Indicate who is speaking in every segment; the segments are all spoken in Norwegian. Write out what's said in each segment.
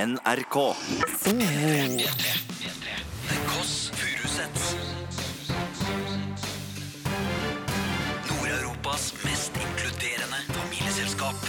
Speaker 1: NRK.
Speaker 2: The Koss Furusets Nord-Europas mest inkluderende familieselskap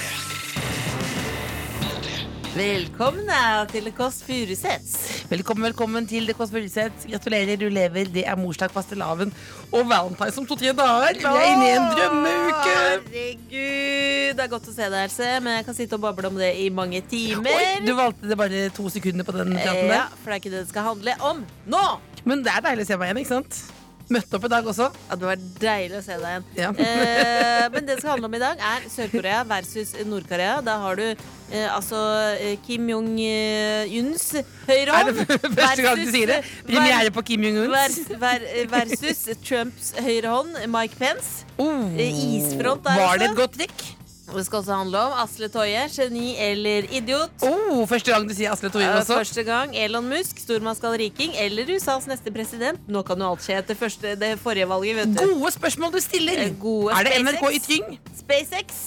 Speaker 3: Velkommen da, til Det Kåss Furuseths.
Speaker 4: Velkommen, velkommen til Det Kåss Furuseth. Gratulerer, du lever. Det er morsdag, fastelavn og valentine som to-tre dager. Vi er inne i en drømmeuke.
Speaker 3: Herregud, det er godt å se deg, Else. Men jeg kan sitte og bable om det i mange timer.
Speaker 4: Oi, du valgte det bare to sekunder på den praten
Speaker 3: Eh, ja,
Speaker 4: der.
Speaker 3: for det er ikke det det skal handle om nå.
Speaker 4: Men det er deilig å se meg igjen, ikke sant? Møtte opp i dag også.
Speaker 3: Ja, det var deilig å se deg igjen.
Speaker 4: Ja.
Speaker 3: Eh, men det det skal handle om i dag, er Sør-Korea versus Nord-Korea. Da har du eh, altså eh, Kim Jong-uns
Speaker 4: Er
Speaker 3: høyrehånd
Speaker 4: det første gang du sier det? Premiere på Kim Jong-uns.
Speaker 3: Versus, eh, ver, versus Trumps høyrehånd, Mike Pence.
Speaker 4: Oh.
Speaker 3: eh, isfront der
Speaker 4: Var det
Speaker 3: også.
Speaker 4: et godt trekk?
Speaker 3: Og Det skal også handle om Asle Toje, geni eller idiot.
Speaker 4: Oh, første gang du sier Asle Toje
Speaker 3: Eh,
Speaker 4: også.
Speaker 3: Første gang Elon Musk, stormannsgalleriking eller USAs neste president. Nå kan jo alt skje etter første, det forrige valget, vet du.
Speaker 4: Gode spørsmål du stiller.
Speaker 3: Eh, gode
Speaker 4: er det
Speaker 3: SpaceX?
Speaker 4: NRK Ytring?
Speaker 3: SpaceX.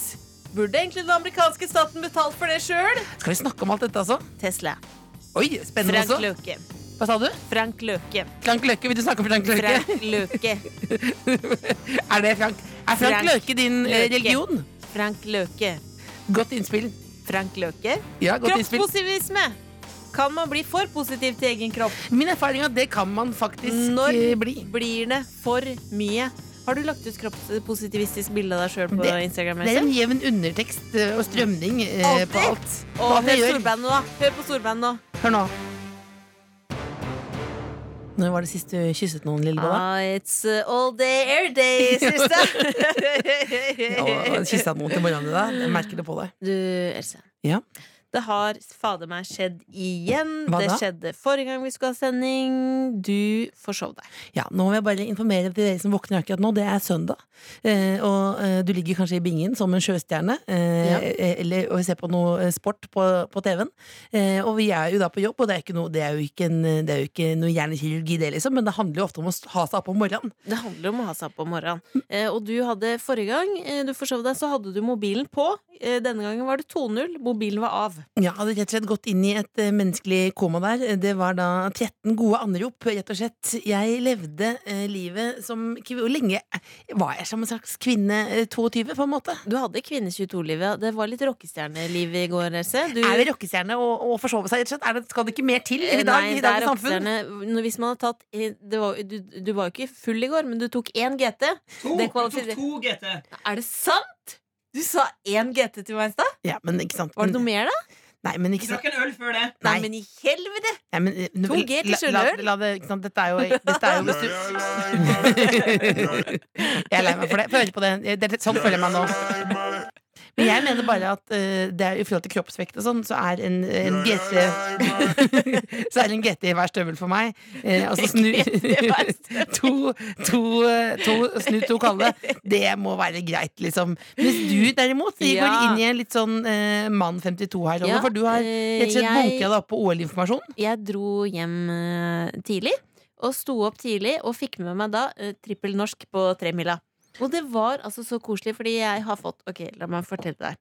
Speaker 3: Burde egentlig den amerikanske staten betalt for det sjøl?
Speaker 4: Skal vi snakke om alt dette, altså?
Speaker 3: Tesla.
Speaker 4: Oi, spennende
Speaker 3: Frank
Speaker 4: også.
Speaker 3: Løke.
Speaker 4: Hva sa du?
Speaker 3: Frank Løke.
Speaker 4: Frank Løkke? Vil du snakke om Frank Løkke?
Speaker 3: Frank Løke.
Speaker 4: er det Frank? Er Frank,
Speaker 3: Frank
Speaker 4: Løke din eh,
Speaker 3: Løke.
Speaker 4: religion?
Speaker 3: Frank Løke.
Speaker 4: Godt innspill.
Speaker 3: Frank Løke.
Speaker 4: Ja, godt innspill.
Speaker 3: Kroppspositivisme. Kan man bli for positiv til egen kropp?
Speaker 4: Min erfaring er at det kan man faktisk
Speaker 3: Når
Speaker 4: eh, bli.
Speaker 3: blir det for mye? Har du lagt ut kroppspositivistisk bilde av deg sjøl på
Speaker 4: Det-
Speaker 3: Instagram?
Speaker 4: Det er en jevn undertekst eh, og strømning eh,
Speaker 3: Alltid.
Speaker 4: på alt. På
Speaker 3: Og
Speaker 4: alt
Speaker 3: hør
Speaker 4: jeg gjør.
Speaker 3: storbandet nå. Hør på storbandet nå.
Speaker 4: Hør nå. Når var det sist du kysset noen, Lillebolla?
Speaker 3: Ah, it's uh, all day air day,
Speaker 4: Og
Speaker 3: sister.
Speaker 4: kyssa noen til morgenen i dag? Jeg merker det på deg.
Speaker 3: du, Else.
Speaker 4: Ja.
Speaker 3: Det har fader meg skjedd igjen.
Speaker 4: Hva
Speaker 3: det
Speaker 4: da?
Speaker 3: skjedde forrige gang vi skulle ha sending. Du forsov deg.
Speaker 4: Ja, nå må jeg bare informere til dere som våkner akkurat nå. Det er søndag. Eh, og eh, du ligger kanskje i bingen som en sjøstjerne eh,
Speaker 3: Ja.
Speaker 4: eh, eller, og ser på noe eh, sport på, på TV-en. Eh, og vi er jo da på jobb, og det er, ikke noe, det er, jo, ikke en, det er jo ikke noe hjernekirurgi, det, liksom. Men det handler jo ofte om å ha seg opp om morgenen.
Speaker 3: Det handler om å ha seg opp om morgenen. Eh, og du hadde forrige gang eh, du forsov deg, så hadde du mobilen på. Eh, denne gangen var det 2-0. Mobilen var av.
Speaker 4: Jeg hadde rett og slett gått inn i et eh, menneskelig koma der. Eh, Det var da 13 gode anrop, rett og slett. Jeg levde eh, livet som kvi- Hvor lenge eh, var jeg som en slags kvinne? eh, 22, på en måte?
Speaker 3: Du hadde kvinne 22-livet. Det var litt rockestjerneliv i går, Else. Du,
Speaker 4: Er det rockestjerne å, å forsove seg? rett og slett? Er det, skal det ikke mer til i
Speaker 3: Mm. Eh,
Speaker 4: dag?
Speaker 3: nei,
Speaker 4: i
Speaker 3: det er
Speaker 4: dagens samfunn?
Speaker 3: rockestjerne. Nå, Hvis man har tatt eh, det var, du, du var jo ikke full i går, men du tok én GT.
Speaker 5: To,
Speaker 3: Det
Speaker 5: jeg tok
Speaker 3: kvalifiserer- Altså-
Speaker 5: to GT.
Speaker 3: Er det sant?! Du sa én GT til meg i stad.
Speaker 4: Ja, men ikke sant.
Speaker 3: Var det noe mer, da?
Speaker 4: Nei, men
Speaker 5: Jeg
Speaker 4: ikke sant.
Speaker 5: drakk en øl før det.
Speaker 3: Mm. Nei,
Speaker 4: Nei.
Speaker 3: men i helvete!
Speaker 4: Nei, men, eh, nå-
Speaker 3: To G til
Speaker 4: la- la-
Speaker 3: Sjøløl?
Speaker 4: la det- ikke sant, Dette er jo Dette er jo hvis du- Jeg er lei meg for det. Få høre på det. det. er- Sånn føler jeg meg nå. Men jeg mener bare at eh, det er, i forhold til kroppsvekt og sånn, så er en, en GT Så er en GT i hver støvel for meg. Eh, altså snu to, to, eh, to, Snu to kalde. Det må være greit, liksom. Mens du derimot de går
Speaker 3: Ja.
Speaker 4: inn i en litt sånn eh, mann 52-her rolle,
Speaker 3: Ja,
Speaker 4: for du har
Speaker 3: eh,
Speaker 4: rett og slett
Speaker 3: jeg-
Speaker 4: bunka deg opp på OL-informasjon.
Speaker 3: Jeg dro hjem eh, tidlig, og sto opp tidlig, og fikk med meg da eh, trippel norsk på tremila. Og det var altså så koselig, fordi jeg har fått Ok, la meg fortelle deg.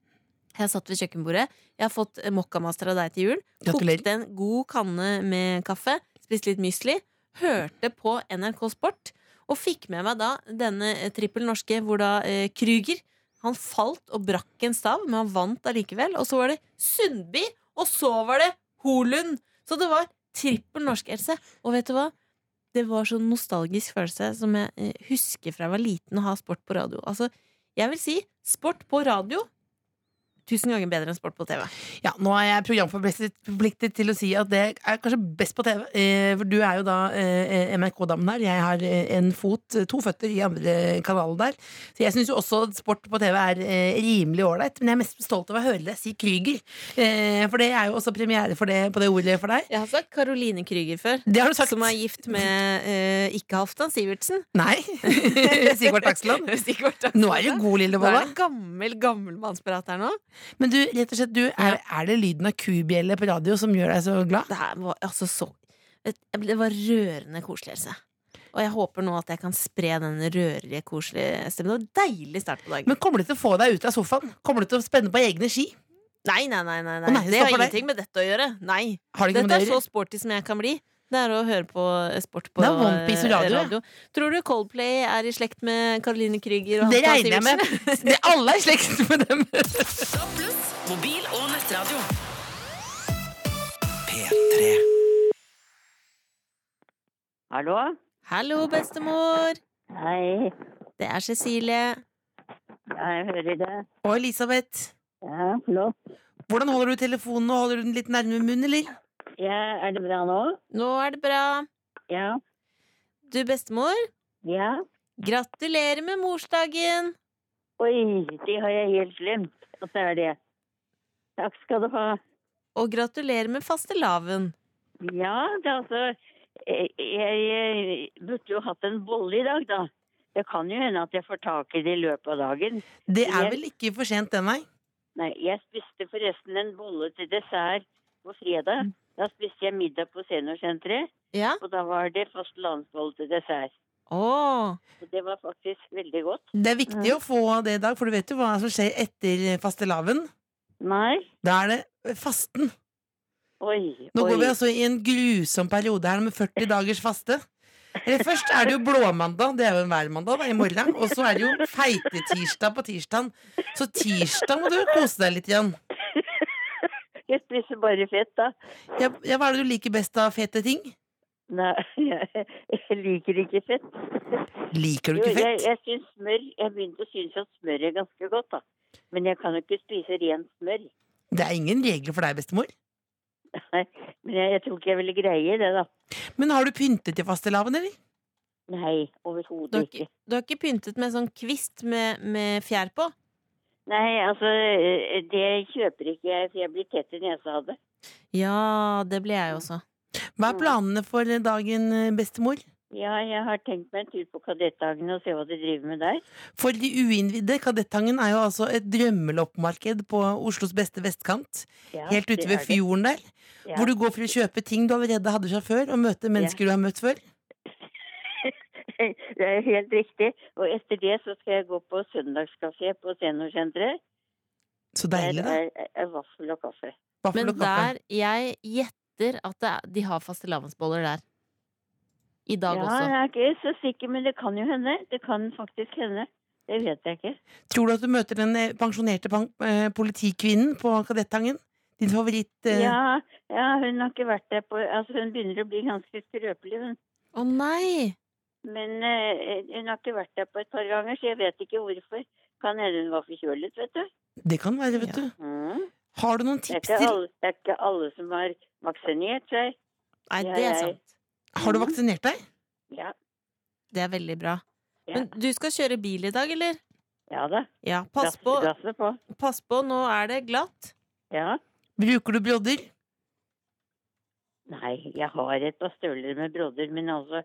Speaker 3: Jeg satt ved kjøkkenbordet. Jeg har fått eh, mokkamaster av deg til jul.
Speaker 4: Gratulerer.
Speaker 3: Kokte en god kanne med kaffe. Spiste litt mysli. Hørte på NRK Sport. Og fikk med meg da denne eh, trippel norske, hvor da eh, Krüger Han falt og brakk en stav, men han vant allikevel. Og så var det Sundby, og så var det Holund. Så det var trippel norsk, Else. Og vet du hva? Det var sånn nostalgisk følelse som jeg eh, husker fra jeg var liten å ha sport på radio. Altså, jeg vil si sport på radio tusen ganger bedre enn sport på TV.
Speaker 4: Ja, nå er jeg programforpliktet til å si at det er kanskje best på TV. Eh, for du er jo da eh, NRK-damen her. Jeg har eh, en fot, to føtter i andre kanalen der. Så jeg syns jo også at sport på TV er eh, rimelig ålreit. Men jeg er mest stolt over å høre deg si Krüger. Eh, for det er jo også premiere for det, på det ordet for deg.
Speaker 3: Jeg har sagt Caroline Krüger før.
Speaker 4: Det har du sagt.
Speaker 3: Som er gift med eh, ikke Halvdan Sivertsen.
Speaker 4: Nei. Sigvart Takseland.
Speaker 3: Sigvard Takseland.
Speaker 4: Nå er du god, lille
Speaker 3: Nå er
Speaker 4: bolla.
Speaker 3: det gammel, gammel mannsprat her nå.
Speaker 4: Men du, rett og slett, du, er, er det lyden av kubjelle på radio som gjør deg så glad?
Speaker 3: Det her var altså så vet- jeg ble- Det var rørende koselig, Else. Og jeg håper nå at jeg kan spre den rørige, koselige stemmen. Det var en deilig start på dagen.
Speaker 4: Men kommer du til å få deg ut av sofaen? Kommer du til å spenne på egne ski?
Speaker 3: Nei, nei, nei. nei,
Speaker 4: Å,
Speaker 3: nei.
Speaker 4: nei, det
Speaker 3: Det har
Speaker 4: stopper der.
Speaker 3: ingenting med dette å gjøre. Nei.
Speaker 4: Har du ikke
Speaker 3: Dette er
Speaker 4: noe
Speaker 3: så sporty som jeg kan bli. Det er å høre på eh, sport på
Speaker 4: Det er One Piece og
Speaker 3: eh,
Speaker 4: radio, ja.
Speaker 3: Tror du Coldplay er i slekt med Caroline Krüger og
Speaker 4: Det
Speaker 3: Hans
Speaker 4: regner jeg
Speaker 3: Hans Iversen?
Speaker 4: med. Det- Alle er i slekt med dem.
Speaker 1: Mobil og nettradio.
Speaker 2: P3
Speaker 5: Hallo?
Speaker 3: Hallo, bestemor!
Speaker 5: Hei,
Speaker 3: Det er Cecilie.
Speaker 5: jeg hører det.
Speaker 4: Og Elisabeth,
Speaker 5: Ja, flott.
Speaker 4: hvordan holder du telefonen? nå? Holder du den litt nærme munnen, eller?
Speaker 5: Ja, er det bra nå?
Speaker 3: Nå er det bra.
Speaker 5: Ja,
Speaker 3: Du, bestemor,
Speaker 5: ja.
Speaker 3: gratulerer med morsdagen!
Speaker 5: Oi, det har jeg helt glemt at det er det. Takk skal du ha.
Speaker 3: Og gratulerer med fastelavn.
Speaker 5: Ja, det er altså, eh, jeg eh, burde jo hatt en bolle i dag da. Det kan jo hende at jeg får tak i det i løpet av dagen.
Speaker 4: Det er
Speaker 5: Jeg-
Speaker 4: vel ikke for sent, det, nei?
Speaker 5: Nei, jeg spiste forresten en bolle til dessert på
Speaker 4: Mm.
Speaker 5: fredag. Da spiste jeg middag på seniorsenteret,
Speaker 3: Ja?
Speaker 5: og da var det fastelandsbolle til dessert.
Speaker 3: Å!
Speaker 5: Og det var faktisk veldig godt.
Speaker 4: Det er viktig å få det i dag, for du vet jo hva som skjer etter fastelavn.
Speaker 5: Nei,
Speaker 4: Da er det fasten.
Speaker 5: oi,
Speaker 4: Nå
Speaker 5: oi.
Speaker 4: går vi altså i en grusom periode her med 40 dagers faste. Eller først er det jo blåmandag, det er jo hver mandag da, i morgen. Og så er det jo feitetirsdag på tirsdag. Så tirsdag må du kose deg litt igjen.
Speaker 5: Jeg spiser bare fett, da.
Speaker 4: Ja, ja, hva er det du liker best av fete ting?
Speaker 5: Nei, jeg, jeg liker ikke fett.
Speaker 4: Liker du
Speaker 5: Jo,
Speaker 4: ikke
Speaker 5: jeg,
Speaker 4: fett?
Speaker 5: jeg synes smør Jeg begynte å synes at smør er ganske godt, da. Men jeg kan jo ikke spise rent smør.
Speaker 4: Det er ingen regler for deg, bestemor.
Speaker 5: Men jeg, jeg tror ikke jeg ville greie det, da.
Speaker 4: Men har du pyntet til fastelavn, eller?
Speaker 5: Nei, overhodet
Speaker 3: Du har, ikke,
Speaker 5: ikke.
Speaker 3: du har ikke pyntet med sånn kvist med, med fjær på?
Speaker 5: Nei, altså, eh, det kjøper ikke jeg, for jeg blir tett i nesa av det.
Speaker 3: Ja, det ble jeg også.
Speaker 4: Hva er
Speaker 5: Mm.
Speaker 4: planene for dagen, eh, bestemor?
Speaker 5: Ja, jeg har tenkt meg en tur på Kadetthagen og se hva de driver med der.
Speaker 4: For de uinnvidde, Kadettangen er jo altså et drømmeloppmarked på Oslos beste vestkant.
Speaker 5: Ja,
Speaker 4: Helt ute
Speaker 5: det
Speaker 4: ved
Speaker 5: er det.
Speaker 4: fjorden der.
Speaker 5: Ja.
Speaker 4: Hvor du går for å kjøpe ting du allerede hadde fra før, og møte mennesker du har møtt før.
Speaker 5: Det er helt riktig. Og etter det så skal jeg gå på søndagskafé på seniorsenteret.
Speaker 4: Så deilig, da.
Speaker 5: Der er, er vaffel og kaffe.
Speaker 4: Vaffel
Speaker 3: Men
Speaker 4: og kaffe.
Speaker 3: der, jeg gjetter at det er, de har fastelavnsboller der. I dag
Speaker 5: ja,
Speaker 3: også.
Speaker 5: jeg er ikke så sikker, men det kan jo hende. Det kan faktisk hende. Det vet jeg ikke.
Speaker 4: Tror du at du møter den eh, pensjonerte pan- eh, politikvinnen på Kadettangen? Din favoritt... eh,
Speaker 5: Ja, ja, hun har ikke vært der på Altså, hun begynner å bli ganske skrøpelig, hun.
Speaker 3: Å nei!
Speaker 5: Men eh, hun har ikke vært der på et par ganger, så jeg vet ikke hvorfor. Kan hende hun var forkjølet, vet du.
Speaker 4: Det kan være, vet
Speaker 3: Ja.
Speaker 4: du.
Speaker 5: Mm.
Speaker 4: Har du noen
Speaker 5: Det, er
Speaker 4: tips
Speaker 5: ikke
Speaker 4: til
Speaker 5: alle, det er ikke alle som har vaksinert seg.
Speaker 3: Nei,
Speaker 5: Ja,
Speaker 3: det er
Speaker 5: jeg-
Speaker 3: sant.
Speaker 4: Har
Speaker 5: Mm.
Speaker 4: du vaksinert deg?
Speaker 5: Ja,
Speaker 3: Det er veldig bra.
Speaker 5: Ja.
Speaker 3: Men du skal kjøre bil i dag, eller?
Speaker 5: ja da.
Speaker 3: Ja, pass på,
Speaker 5: Gasse på.
Speaker 3: pass på, nå er det glatt.
Speaker 5: Ja.
Speaker 4: Bruker du brodder?
Speaker 5: Nei, jeg har et par støvler med brodder, men altså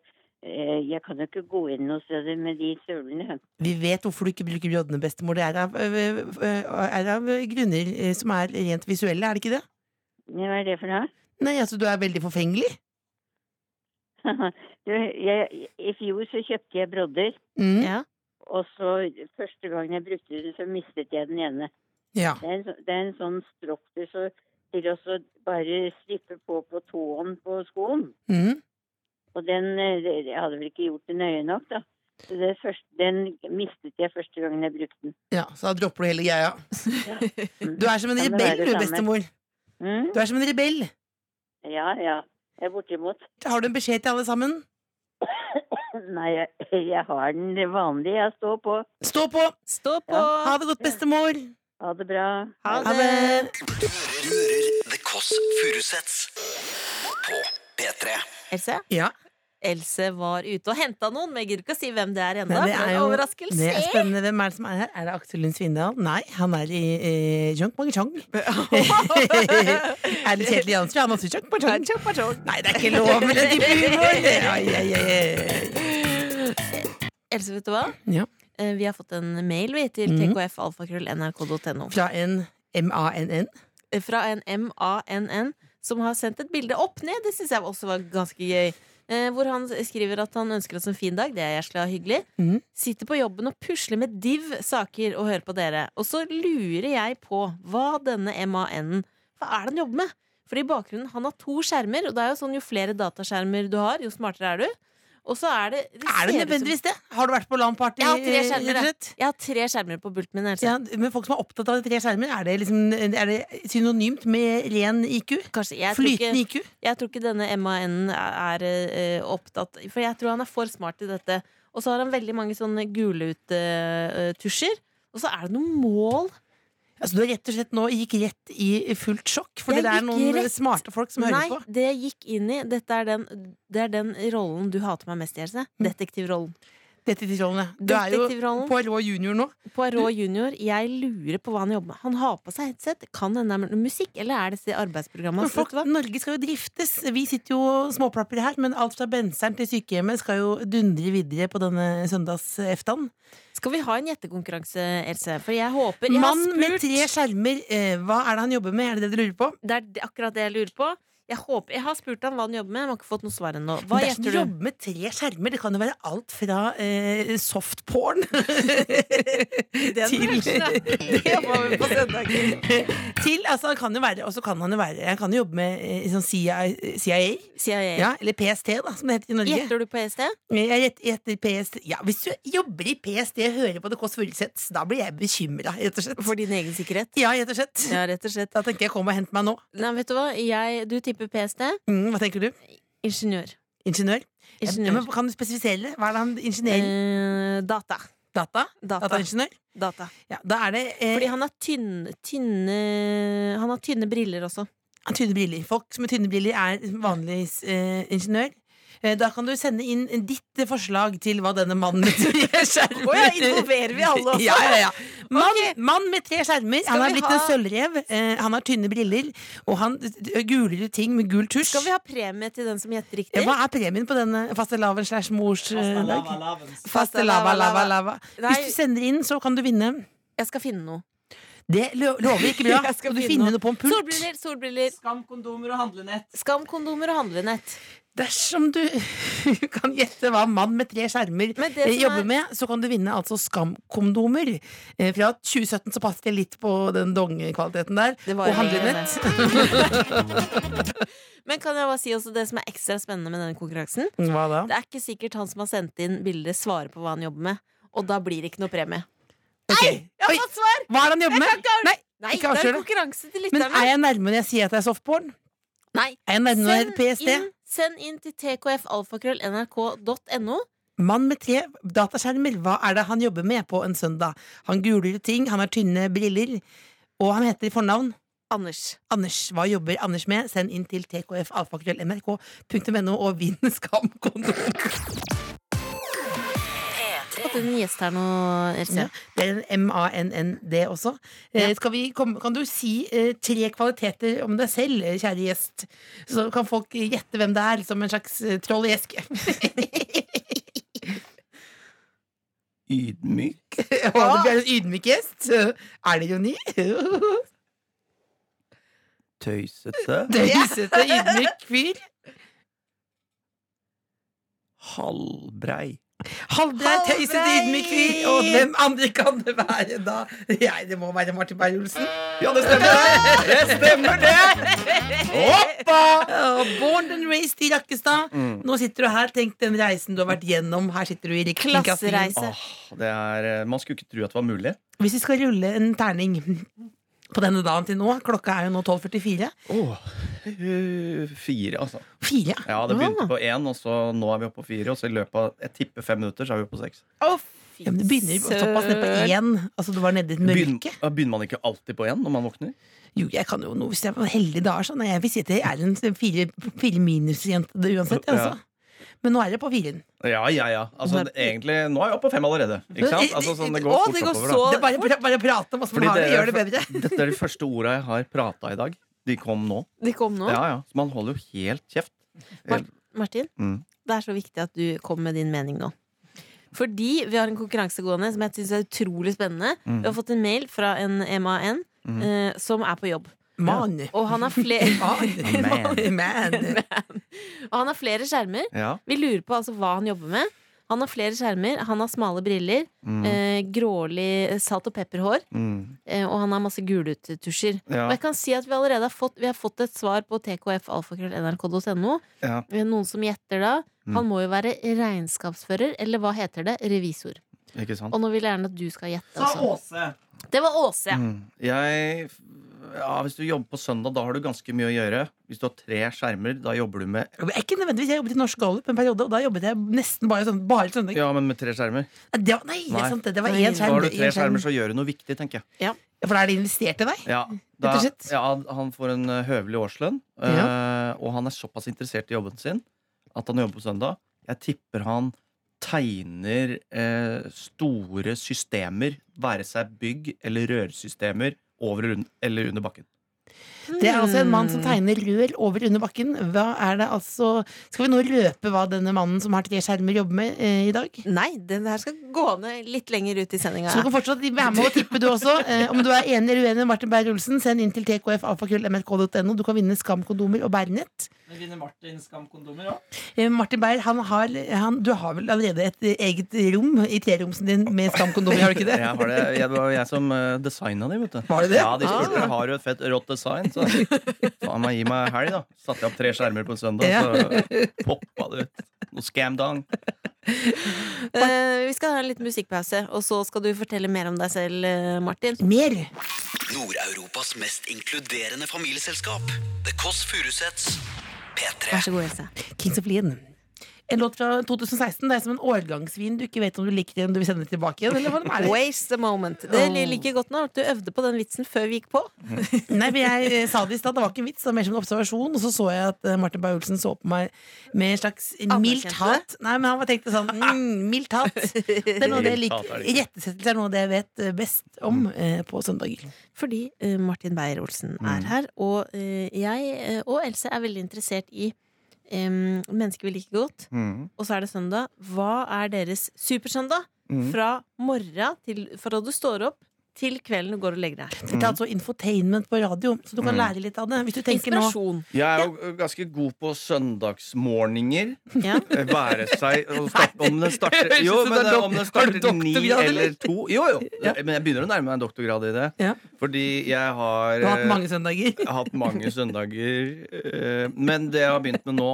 Speaker 5: eh, Jeg kan jo ikke gå inn noe sted med de støvlene.
Speaker 4: Vi vet hvorfor du ikke bruker broddene, bestemor. Det er av, ø, ø, er av grunner ø, som er rent visuelle, er det ikke det?
Speaker 5: Hva er det for noe?
Speaker 4: Nei, altså du er veldig forfengelig.
Speaker 5: Du, jeg, I fjor så kjøpte jeg brodder,
Speaker 4: Mm.
Speaker 3: Ja.
Speaker 5: og så første gangen jeg brukte den, så mistet jeg den ene.
Speaker 4: Ja.
Speaker 5: Det er en, så- det er en sånn strokk du så til å så bare slippe på på tåen på skoen.
Speaker 4: Mm.
Speaker 5: Og den eh, det- Jeg hadde vel ikke gjort det nøye nok, da. Så det første, den mistet jeg første gangen jeg brukte den.
Speaker 4: ja, så da dropper du hele greia. Du er som en
Speaker 5: Kan det
Speaker 4: rebell, du,
Speaker 5: være det samme?
Speaker 4: bestemor.
Speaker 5: Mm?
Speaker 4: Du er som en rebell.
Speaker 5: Ja, ja. Jeg er bortimot.
Speaker 4: Har du en beskjed til alle sammen?
Speaker 5: Nei, jeg, jeg har den vanlige jeg står på.
Speaker 4: Stå på!
Speaker 3: Stå på!
Speaker 4: Ha det godt, bestemor!
Speaker 5: Ha det bra.
Speaker 3: Ha
Speaker 4: Ha det!
Speaker 2: Du hører The Koss Furusets På P3
Speaker 3: Else?
Speaker 4: Ja,
Speaker 3: Else var ute og henta noen, men jeg gidder ikke å si hvem det er ennå.
Speaker 4: Nei, det
Speaker 3: for
Speaker 4: er
Speaker 3: en
Speaker 4: jo-
Speaker 3: Overraskelse!
Speaker 4: det er spennende. Hvem er det som er her? Er det Aksel Lund Svindal? Nei, han er i eh, Junk Mang Chang. er det Kjetil Jansrud? Han er også i Junk Mang Chang. Nei, det er ikke lov med den type humor! Ai, ai, ai.
Speaker 3: Else, vet du hva?
Speaker 4: Ja.
Speaker 3: Eh, Vi har fått en mail vi, til
Speaker 4: Mhm.
Speaker 3: tkfalfakrøll.nrk.no.
Speaker 4: Fra en MANN.
Speaker 3: fra en MANN som har sendt et bilde opp ned. Det syns jeg også var ganske gøy. Eh, hvor han skriver at han ønsker oss en fin dag. Det er jæskla hyggelig.
Speaker 4: Mhm.
Speaker 3: Sitter på jobben og pusler med div-saker og hører på dere. Og så lurer jeg på hva denne MAN-en Hva er det han jobber med? For i bakgrunnen, han har to skjermer, og det er jo sånn jo flere dataskjermer du har, jo smartere er du. Og så er det det
Speaker 4: Er det
Speaker 3: ser ut som-
Speaker 4: nødvendigvis det? Har du vært på LAN-party?
Speaker 3: Jeg har tre
Speaker 4: eh, rett
Speaker 3: skjermer,
Speaker 4: og
Speaker 3: jeg.
Speaker 4: slett?
Speaker 3: Jeg har tre skjermer på bulten min. Altså.
Speaker 4: Ja, men folk som er opptatt av de tre skjermer, er det, liksom, er det synonymt med ren IQ?
Speaker 3: Kanskje, jeg, tror
Speaker 4: Flytende
Speaker 3: ikke,
Speaker 4: IQ?
Speaker 3: jeg tror ikke denne MAN-en er, er eh, opptatt For jeg tror han er for smart til dette. Og så har han veldig mange sånne guluttusjer. og så er det noe mål.
Speaker 4: Altså, du har rett og slett nå gikk rett i fullt sjokk, fordi
Speaker 3: Jeg
Speaker 4: det er
Speaker 3: gikk
Speaker 4: noen
Speaker 3: rett-
Speaker 4: smarte folk som hører
Speaker 3: Nei,
Speaker 4: på.
Speaker 3: det jeg gikk inn i, dette er den, det er den rollen du hater meg mest i, Else.
Speaker 4: Mm.
Speaker 3: Detektivrollen.
Speaker 4: Detektivrollen. ja. Du er jo
Speaker 3: Detektivrollen.
Speaker 4: på rå junior nå.
Speaker 3: Poirot
Speaker 4: Mm.
Speaker 3: junior, jeg lurer på hva han jobber med. Han har på seg headset. Kan hende det er musikk, eller er dette arbeidsprogrammet
Speaker 4: Men
Speaker 3: hans? Vet
Speaker 4: folk,
Speaker 3: du hva?
Speaker 4: Norge skal jo driftes. Vi sitter jo småplapper her, men alt fra benseren til sykehjemmet skal jo dundre videre på denne søndags-eftan.
Speaker 3: Skal vi ha en gjettekonkurranse, Else? For jeg håper jeg har
Speaker 4: Mann med
Speaker 3: spurt-
Speaker 4: tre skjermer, eh, hva er det han jobber med? Er det det dere lurer på?
Speaker 3: Det er det- akkurat det jeg lurer på. Jeg, håper, jeg har spurt han hva han jobber med, men har ikke fått noe svar ennå. Hva
Speaker 4: Men det er som
Speaker 3: gjetter du?
Speaker 4: jobber med tre skjermer. Det kan jo være alt fra eh, softporn til Til, altså han kan jo være Og så kan han jo være Han kan jo jobbe med eh, sånn CIA, CIA
Speaker 3: Sier jeg.
Speaker 4: ja, Eller PST, da, som det heter i Norge.
Speaker 3: Gjetter du på EST?
Speaker 4: Jeg rett- gjetter PST Ja, Hvis du jobber i PST og hører på det Kåss Furuseths, da blir jeg bekymra, rett og slett.
Speaker 3: For din egen sikkerhet?
Speaker 4: Ja, rett og slett.
Speaker 3: Ja, rett og slett.
Speaker 4: Da tenker jeg kom og hent meg nå.
Speaker 3: Nei, vet du hva? Jeg, du tipper PST.
Speaker 4: Mm, hva tenker du?
Speaker 3: Ingeniør.
Speaker 4: Ingeniør? Ja,
Speaker 3: Ingeniør.
Speaker 4: men kan du spesifisere? det? Hva er det han ingeniør
Speaker 3: Eh, data.
Speaker 4: Data?
Speaker 3: Data.
Speaker 4: Dataingeniør?
Speaker 3: data.
Speaker 4: Ja, da er det eh,
Speaker 3: Fordi han har tynne, tynne Han har tynne briller også.
Speaker 4: Tynne briller. Folk med tynne briller er vanligvis eh, ingeniør. Eh, Da kan du sende inn ditt forslag til hva denne mannen med tre skjermer
Speaker 3: Å ja, involverer vi alle også?
Speaker 4: Ja, ja, ja. Mann, mann med tre skjermer. Han
Speaker 3: vi
Speaker 4: er blitt
Speaker 3: ha-
Speaker 4: en sølvrev. eh, Han har tynne briller, og han eh, guler ut ting med gul tusj.
Speaker 3: Skal vi ha premie til den som gjetter
Speaker 4: Ja,
Speaker 3: riktig?
Speaker 4: Hva er premien på denne fastelavn slash mors eh, dag?
Speaker 3: Faste
Speaker 4: Fastelava, lava,
Speaker 3: lava,
Speaker 4: lava.
Speaker 3: Nei.
Speaker 4: Hvis du sender inn, så kan du vinne.
Speaker 3: Jeg skal finne noe.
Speaker 4: Det lo- lover ikke bra.
Speaker 3: Jeg skal
Speaker 4: Skal du
Speaker 3: finne
Speaker 4: finne noe på en pult?
Speaker 3: Solbriller, solbriller. Skam, kondomer og handlenett.
Speaker 4: Dersom du kan gjette hva mann med tre skjermer
Speaker 3: Men det
Speaker 4: eh,
Speaker 3: som
Speaker 4: jobber
Speaker 3: er-
Speaker 4: med, så kan du vinne altså skamkondomer. Eh, Fra 2017 så passet jeg litt på den dongekvaliteten der.
Speaker 3: Det var
Speaker 4: Og
Speaker 3: jo-
Speaker 4: handlenett.
Speaker 3: Men kan jeg bare si også det som er ekstra spennende med denne konkurransen?
Speaker 4: Hva da?
Speaker 3: Det er ikke sikkert han som har sendt inn bildet, svarer på hva han jobber med. Og da blir det ikke noe premie.
Speaker 4: Ok.
Speaker 3: Jeg har
Speaker 4: Oi,
Speaker 3: fått svar!
Speaker 4: hva er det han jobber
Speaker 3: Jeg
Speaker 4: med?
Speaker 3: kan ikke av-
Speaker 4: Nei,
Speaker 3: Nei,
Speaker 4: Ikke
Speaker 3: det er
Speaker 4: avslør
Speaker 3: en
Speaker 4: det.
Speaker 3: konkurranse til
Speaker 4: men er
Speaker 3: lytterne.
Speaker 4: jeg nærme når jeg sier at det er softporn?
Speaker 3: Nei.
Speaker 4: Er jeg nærme når jeg er
Speaker 3: Send
Speaker 4: PST?
Speaker 3: inn, send inn til tkfalfakrøll.nrk.no.
Speaker 4: Mann med tre dataskjermer, hva er det han jobber med på en søndag? Han guler ting, han har tynne briller, og han heter i fornavn
Speaker 3: Anders.
Speaker 4: Anders, hva jobber Anders med? Send inn til tkfalfakrøll.nrk.no og vinn skamkondomer.
Speaker 3: Har du en gjest her nå, Else?
Speaker 4: Ja, det er en M-A-N-N-D også. Eh, skal vi komme, kan du si eh, tre kvaliteter om deg selv, eh, kjære gjest? Så kan folk gjette hvem det er, som en slags eh, troll i eske.
Speaker 2: Ydmyk.
Speaker 4: Å, du blir en ydmyk gjest. Er det ironi?
Speaker 2: Tøysete.
Speaker 4: Tøysete, ydmyk fyr.
Speaker 2: Halvbrei.
Speaker 4: Halvdreid, tøysete,
Speaker 3: Halvveis!
Speaker 4: ydmyk fyr. Og hvem andre kan det være da? Jeg, det må være Martin Beyer-Olsen.
Speaker 2: Ja, det stemmer det! Det stemmer det! Hoppa! Mm.
Speaker 4: Og Born and raised i Rakkestad. Nå sitter du her, tenk den reisen du har vært gjennom. Her sitter du i rikskringkastingen.
Speaker 3: Klassereise.
Speaker 6: Åh, det er, eh, man skulle ikke tro at det var mulig.
Speaker 4: Hvis vi skal rulle en terning på denne dagen til nå, klokka er jo nå 12.44.
Speaker 6: Åh, eh, fire, altså.
Speaker 4: Fire. Ah.
Speaker 6: Ja, det begynte på én, og så nå er vi oppe på fire. Og så i løpet av jeg tipper fem minutter, så er vi oppe på seks.
Speaker 4: Ja, men det begynner jo såpass ned på én. Altså, du var nede i et
Speaker 6: Begynner,
Speaker 4: mørke.
Speaker 6: ja, begynner man ikke alltid på én når man våkner?
Speaker 4: Jo, jeg kan jo noe hvis jeg var heldig da. Sånn. Jeg vil si at jeg er en sånn fire, fire minus-jente det uansett. jeg,
Speaker 6: Ja.
Speaker 4: Altså. Men nå er det på firen.
Speaker 6: Ja, ja, ja. Altså, det- egentlig, nå er vi oppe på fem allerede. Ikke sant? Altså, sånn, det går
Speaker 4: Å,
Speaker 6: fort
Speaker 4: det går
Speaker 6: oppover,
Speaker 4: så
Speaker 6: da.
Speaker 4: det er bare, pra- bare prate om åssen man har det, gjør det bedre.
Speaker 6: Dette er de første orda jeg har prata i dag. De kom nå.
Speaker 3: De kom nå.
Speaker 6: Ja, ja. Så man holder jo helt kjeft.
Speaker 3: Mart- Martin,
Speaker 6: Mm.
Speaker 3: det er så viktig at du kommer med din mening nå. Fordi vi har en konkurranse gående
Speaker 6: Mm.
Speaker 3: som jeg synes er utrolig spennende. Vi har fått en mail fra en MAN eh, som er på jobb.
Speaker 4: Man.
Speaker 3: Og han har flere,
Speaker 4: Man. Man.
Speaker 3: og han har flere skjermer.
Speaker 6: Ja.
Speaker 3: Vi lurer på altså hva han jobber med. Han har flere skjermer, han har smale briller,
Speaker 6: Mm.
Speaker 3: eh, grålig salt- og pepperhår,
Speaker 6: Mm.
Speaker 3: eh, og han har masse guluttusjer.
Speaker 6: Ja.
Speaker 3: Og jeg kan si at vi allerede har fått, vi har fått et svar på tkfalfakrøll.nrk.no.
Speaker 6: Ja.
Speaker 3: Eh, Noen som gjetter da.
Speaker 6: Mm.
Speaker 3: Han må jo være regnskapsfører, eller hva heter det? Revisor.
Speaker 6: Ikke sant?
Speaker 3: Og nå vil jeg gjerne at du skal gjette. altså.
Speaker 2: Sa
Speaker 3: Også.
Speaker 2: Åse.
Speaker 3: Det var Åse, ja.
Speaker 6: Mm. Jeg ja, Hvis du jobber på søndag, da har du ganske mye å gjøre. Hvis du har tre skjermer, da jobber du med
Speaker 4: Jeg er Ikke nødvendigvis, jeg jobbet i Norsk Gallup en periode, og da jobbet jeg nesten bare sånn, bare søndag.
Speaker 6: Ja, men med tre skjermer.
Speaker 4: Nei, det var, nei, det er
Speaker 6: Nei.
Speaker 4: sant, det. det var
Speaker 3: Nei.
Speaker 4: én
Speaker 6: Da
Speaker 4: skjerm.
Speaker 6: har du tre
Speaker 4: én skjerm.
Speaker 6: skjermer, så gjør du noe viktig, tenker jeg.
Speaker 4: Ja, For da er det investert i deg?
Speaker 6: Ja, da,
Speaker 4: Rett og slett.
Speaker 6: ja, han får en eh, høvelig årslønn, eh, og han er såpass interessert i jobben sin at han jobber på søndag. Jeg tipper han tegner eh, store systemer, være seg bygg eller rørsystemer, over eller un- eller under bakken.
Speaker 4: Det er altså en mann
Speaker 6: Mm.
Speaker 4: som tegner rør over under bakken. Hva er det altså Skal vi nå røpe hva denne mannen som har tre skjermer, jobber med eh, i dag?
Speaker 3: Nei, den her skal gå ned litt lenger ut i sendinga.
Speaker 4: Så du kan fortsatt være med og tippe, du også. Eh, om du er enig eller uenig med Martin Beyer-Olsen, send inn til tkfalfakrøllmrk.no. Du kan vinne skamkondomer og bærenett.
Speaker 2: Men vinner Martin skamkondomer òg?
Speaker 4: Eh, Martin Beyer, han har, han, du har vel allerede et eh, eget rom i treromsen din med skamkondomer, har du ikke det?
Speaker 6: Jeg har det, jeg, det var jeg som uh, designa de, vet du.
Speaker 4: Var det det?
Speaker 6: Ja, de spurte ah. har du et fett rått design. Så faen meg, gi meg helg, da. Satte jeg opp tre skjermer på søndag,
Speaker 4: Ja.
Speaker 6: så poppa det ut. Noe scam-dong.
Speaker 3: Eh, vi skal ha en liten musikkpause, og så skal du fortelle mer om deg selv, eh, Martin.
Speaker 4: Mer!
Speaker 7: Nord-Europas mest inkluderende familieselskap. The Kåss Furuseths. P3.
Speaker 3: Vær så god, Else.
Speaker 4: Kings of Leon. En låt fra 2016. Det er som en årgangsvin du ikke vet om du liker eller om du vil sende den tilbake igjen. Eller hva den er.
Speaker 3: Waste the moment. Det li- liker godt nå at du øvde på den vitsen før vi gikk på.
Speaker 6: Mm.
Speaker 4: Nei, men jeg eh, sa det i stad, det var ikke en vits, det var mer som en observasjon. Og så så jeg at eh, Martin Beyer-Olsen så på meg med en slags mildt
Speaker 3: Anerkjente.
Speaker 4: hat. Nei, men han var tenkte sånn mm, Mildt hat. Det er noe av det jeg
Speaker 6: Mildt
Speaker 4: liker.
Speaker 6: hat er det ikke. Mm.
Speaker 4: Rettesettelse er noe av det jeg vet eh, best om eh, på søndager.
Speaker 3: Fordi eh, Martin Beyer-Olsen er her, og eh, jeg eh, og Else er veldig interessert i eh, mennesker vi liker godt.
Speaker 6: Mm.
Speaker 3: Og så er det søndag. Hva er deres supersøndag?
Speaker 6: Mm.
Speaker 3: Fra morgen til fra du står opp, til kvelden du går og legger deg.
Speaker 4: Dette er altså infotainment på radio, så du
Speaker 6: Mm.
Speaker 4: kan lære litt av det. Hvis du tenker nå
Speaker 3: Inspirasjon.
Speaker 6: Jeg er jo ganske god på søndagsmorgener.
Speaker 3: Ja.
Speaker 6: Eh, Være seg og start, Om den starter
Speaker 4: Høres ut
Speaker 6: Jo,
Speaker 4: som
Speaker 6: men
Speaker 4: det er
Speaker 6: eh,
Speaker 4: dok-
Speaker 6: om den
Speaker 4: har du
Speaker 6: starter ni
Speaker 4: doktorgrad, eller?
Speaker 6: eller to Jo, jo.
Speaker 4: Ja.
Speaker 6: Men jeg begynner å nærme meg en doktorgrad i det.
Speaker 4: Ja.
Speaker 6: Fordi jeg har
Speaker 4: Du har hatt
Speaker 6: eh,
Speaker 4: mange søndager.
Speaker 6: jeg har hatt mange søndager. eh, Men det jeg har begynt med nå,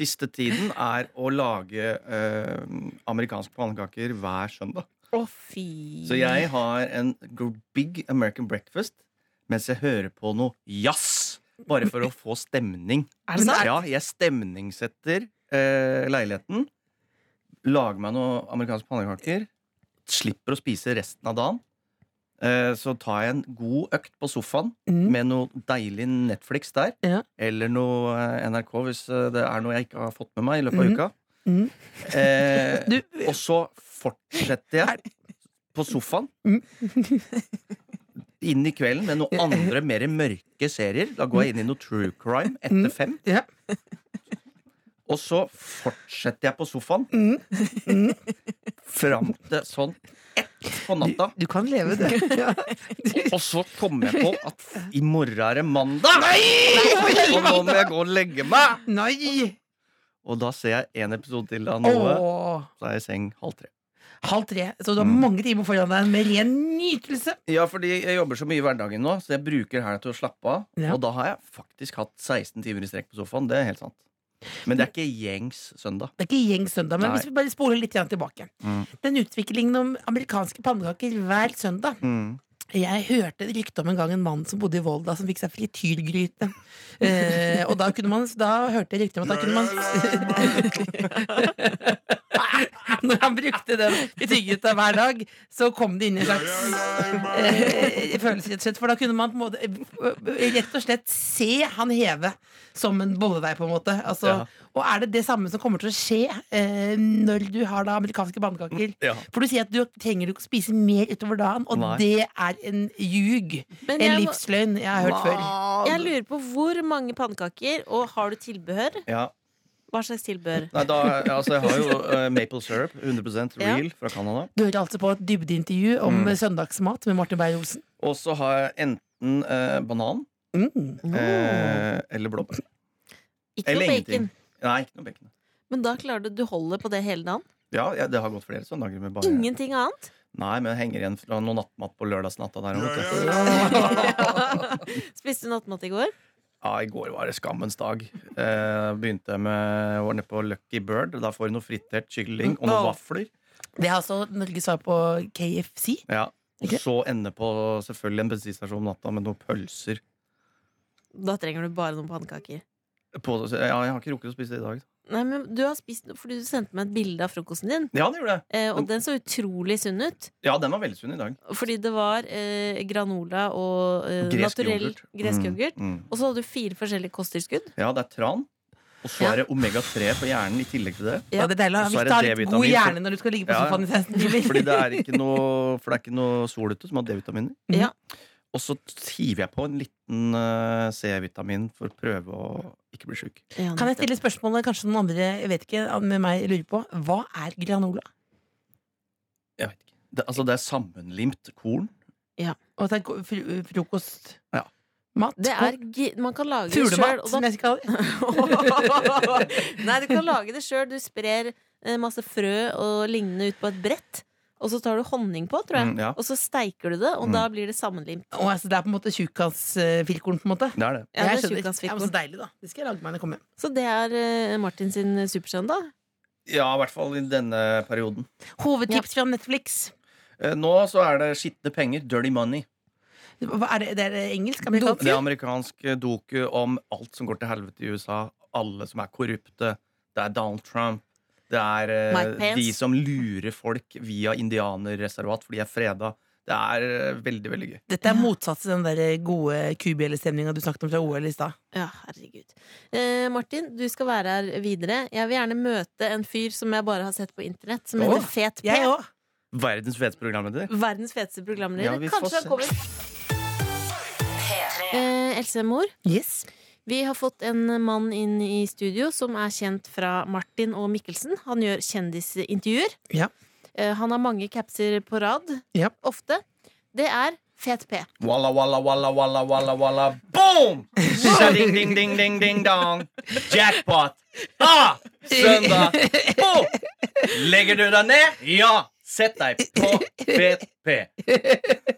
Speaker 6: siste tiden, er å lage eh, amerikanske pannekaker hver søndag.
Speaker 3: Å, fy.
Speaker 6: Så jeg har en gr- big American breakfast mens jeg hører på noe jazz. Bare for å få stemning.
Speaker 4: Er det sant?
Speaker 6: Ja, jeg stemningssetter eh, leiligheten. Lager meg noen amerikanske pannekaker. Slipper å spise resten av dagen. Eh, så tar jeg en god økt på sofaen
Speaker 4: Mm.
Speaker 6: med noe deilig Netflix der.
Speaker 4: Ja.
Speaker 6: Eller noe eh, NRK, hvis eh, det er noe jeg ikke har fått med meg i løpet av
Speaker 4: Mhm.
Speaker 6: uka.
Speaker 4: Mhm.
Speaker 6: Eh,
Speaker 4: Du,
Speaker 6: og så fortsetter jeg på sofaen. Inn i kvelden med noen andre mer mørke serier. Da går jeg inn i noe true crime etter
Speaker 4: Mm.
Speaker 6: fem.
Speaker 4: Ja.
Speaker 6: Og så fortsetter jeg på sofaen
Speaker 4: Mm. Mm.
Speaker 6: fram til sånn ett på
Speaker 4: du,
Speaker 6: natta.
Speaker 4: du kan leve det. Ja.
Speaker 6: Og så kom jeg på at i morgen er det mandag! Og nå må jeg gå og legge meg!
Speaker 4: Nei!
Speaker 6: Og da ser jeg en episode til av noe.
Speaker 4: Åh.
Speaker 6: Så er jeg i seng halv tre.
Speaker 4: Halv tre. Så du har
Speaker 6: Mm.
Speaker 4: mange timer foran deg med ren nytelse.
Speaker 6: Ja, fordi jeg jobber så mye i hverdagen nå, så jeg bruker helga til å slappe av.
Speaker 4: Ja.
Speaker 6: Og da har jeg faktisk hatt 16 timer i strekk på sofaen. Det er helt sant. Men det er ikke gjengs søndag.
Speaker 4: Det er ikke gjeng søndag, men
Speaker 6: Nei.
Speaker 4: hvis vi bare spoler litt grann tilbake.
Speaker 6: Mm.
Speaker 4: Den utviklingen om amerikanske pannekaker hver søndag.
Speaker 6: Mm.
Speaker 4: Jeg hørte et rykte om en gang en mann som bodde i Volda, som fikk seg frityrgryte. Eh, og da kunne man Da hørte jeg rykter om at da kunne man Når han brukte den frityrgryta hver dag, så kom det inn en slags eh, følelse, rett og slett. For da kunne man på en måte eh, rett og slett se han heve som en bolledeig, på en måte. Altså,
Speaker 6: Ja.
Speaker 4: Og er det det samme som kommer til å skje eh, når du har da amerikanske pannekaker?
Speaker 6: Ja.
Speaker 4: For du sier at du trenger ikke å spise mer utover dagen, og
Speaker 6: Nei.
Speaker 4: det er en ljug.
Speaker 3: Men
Speaker 4: En
Speaker 3: jeg må-
Speaker 4: livsløgn jeg har hørt før.
Speaker 3: Jeg lurer på hvor mange pannekaker, og har du tilbehør?
Speaker 6: Ja.
Speaker 3: Hva slags tilbehør?
Speaker 6: Nei, da, altså, jeg har jo eh, maple syrup, 100
Speaker 3: Ja.
Speaker 6: real, fra Canada.
Speaker 4: Du hørte altså på et dybdeintervju om
Speaker 6: Mm.
Speaker 4: søndagsmat med Martin Beyer-Olsen.
Speaker 6: Og så har jeg enten eh, banan
Speaker 4: Mm.
Speaker 6: Eh, eller blåbær.
Speaker 3: Ikke
Speaker 6: Eller
Speaker 3: noe bacon.
Speaker 6: ingenting. Nei, ikke noe bacon.
Speaker 3: Men da klarer du du holder på det hele dagen?
Speaker 6: Ja, ja, det har gått flere søndager med bare
Speaker 3: Ingenting annet?
Speaker 6: Nei, men jeg henger igjen fra noe nattmat på lørdagsnatta der. vet du.
Speaker 3: Spiste du nattmat i går?
Speaker 6: Ja, I går var det skammens dag. Eh, begynte jeg med å ordne på Lucky Bird. Da får du noe fritert kylling og noen
Speaker 4: Åh.
Speaker 6: vafler.
Speaker 4: Det er altså Norge svar på KFC.
Speaker 6: Ja. Og
Speaker 4: Ok.
Speaker 6: så ende på selvfølgelig en bensinstasjon om natta med noen pølser.
Speaker 3: Da trenger du bare noen pannekaker.
Speaker 6: På, ja, jeg har ikke rukket å spise det i dag.
Speaker 3: Nei, men du har spist For du sendte meg et bilde av frokosten din,
Speaker 6: Ja, det gjorde jeg.
Speaker 3: eh, og den så utrolig sunn ut.
Speaker 6: Ja, den var veldig sunn i dag.
Speaker 3: Fordi det var eh, granola og eh,
Speaker 6: Gresk
Speaker 3: naturell
Speaker 6: yoghurt.
Speaker 3: gresk yoghurt.
Speaker 6: Mm.
Speaker 3: Og så hadde du fire forskjellige kosttilskudd.
Speaker 6: Ja, det er tran. Og så
Speaker 3: Ja.
Speaker 6: er det omega-3 på hjernen i tillegg til det.
Speaker 3: Ja.
Speaker 4: Ja, det er deilig å
Speaker 6: Og
Speaker 4: ha
Speaker 6: så
Speaker 4: viktig å ha
Speaker 6: er det
Speaker 4: litt god
Speaker 6: D-vitamin, for-
Speaker 4: hjerne når du skal ligge på
Speaker 6: Ja, ja.
Speaker 4: sofaen i 16 timer.
Speaker 6: Fordi det er ikke noe, for det er ikke noe sol ute som har D-vitaminer.
Speaker 3: Ja.
Speaker 6: Og så hiver jeg på en liten eh, C-vitamin for å prøve å ikke bli sjuk.
Speaker 4: Kan jeg stille spørsmålet kanskje noen andre jeg vet ikke, med meg lurer på? Hva er granola?
Speaker 6: Jeg vet ikke. Det, altså, det er sammenlimt korn.
Speaker 4: Og det er go- fro- eh, frokost
Speaker 6: Ja.
Speaker 4: Mat?
Speaker 3: Det er, gi- man kan lage det sjøl.
Speaker 4: Fuglemat, som jeg skal kalle det.
Speaker 3: Nei, du kan lage det sjøl. Du sprer eh, masse frø og lignende ut på et brett. Og så tar du honning på, tror jeg.
Speaker 6: Mm, ja.
Speaker 3: Og så steiker du det, og
Speaker 6: Mm.
Speaker 3: da blir det sammenlimt.
Speaker 4: Å, altså, det er på en måte tjukkansfilkorn, på en måte.
Speaker 6: Det er det.
Speaker 4: Jeg
Speaker 3: Ja, det er
Speaker 4: skjønner. ja, men
Speaker 3: tjukkansfilkorn.
Speaker 4: så deilig, da. Det skal jeg lage meg når jeg kommer hjem.
Speaker 3: Så det er eh, Martin sin supersøndag.
Speaker 6: Ja, i hvert fall i denne perioden.
Speaker 4: Hovedtips fra Netflix.
Speaker 6: Eh, Nå så er det skitne penger. Dirty money.
Speaker 4: Hva er det, det er engelsk?
Speaker 6: Det
Speaker 4: Amerikansk?
Speaker 6: er amerikansk eh, doku om alt som går til helvete i USA. Alle som er korrupte. Det er Donald Trump. Det er eh,
Speaker 3: Mike Pence.
Speaker 6: de som lurer folk via indianerreservat, for de er freda. Det er eh, veldig, veldig gøy.
Speaker 4: Dette er motsats til den der gode kubjellestemninga du snakket om fra OL i stad.
Speaker 3: Ja, herregud. Eh, Martin, du skal være her videre. Jeg vil gjerne møte en fyr som jeg bare har sett på internett, som heter
Speaker 4: Åh,
Speaker 3: Fet P.
Speaker 4: Jeg òg.
Speaker 6: Verdens feteste programleder.
Speaker 3: Verdens feteste programleder.
Speaker 6: Ja, vi får
Speaker 3: Kanskje
Speaker 6: se.
Speaker 3: han kommer. Eh, Else Mor,
Speaker 4: Yes.
Speaker 3: vi har fått en mann inn i studio som er kjent fra Martin og Mikkelsen. Han gjør kjendisintervjuer.
Speaker 4: Ja.
Speaker 3: Eh, han har mange capser på rad.
Speaker 4: Ja.
Speaker 3: Ofte. Det er Fet P.
Speaker 6: Walla, walla, walla, walla, walla, walla. Boom! Ding, ding, ding, ding, ding, dong. Jackpot. Ah! Søndag. Boom! Legger du deg ned? Ja! Sett deg på VP.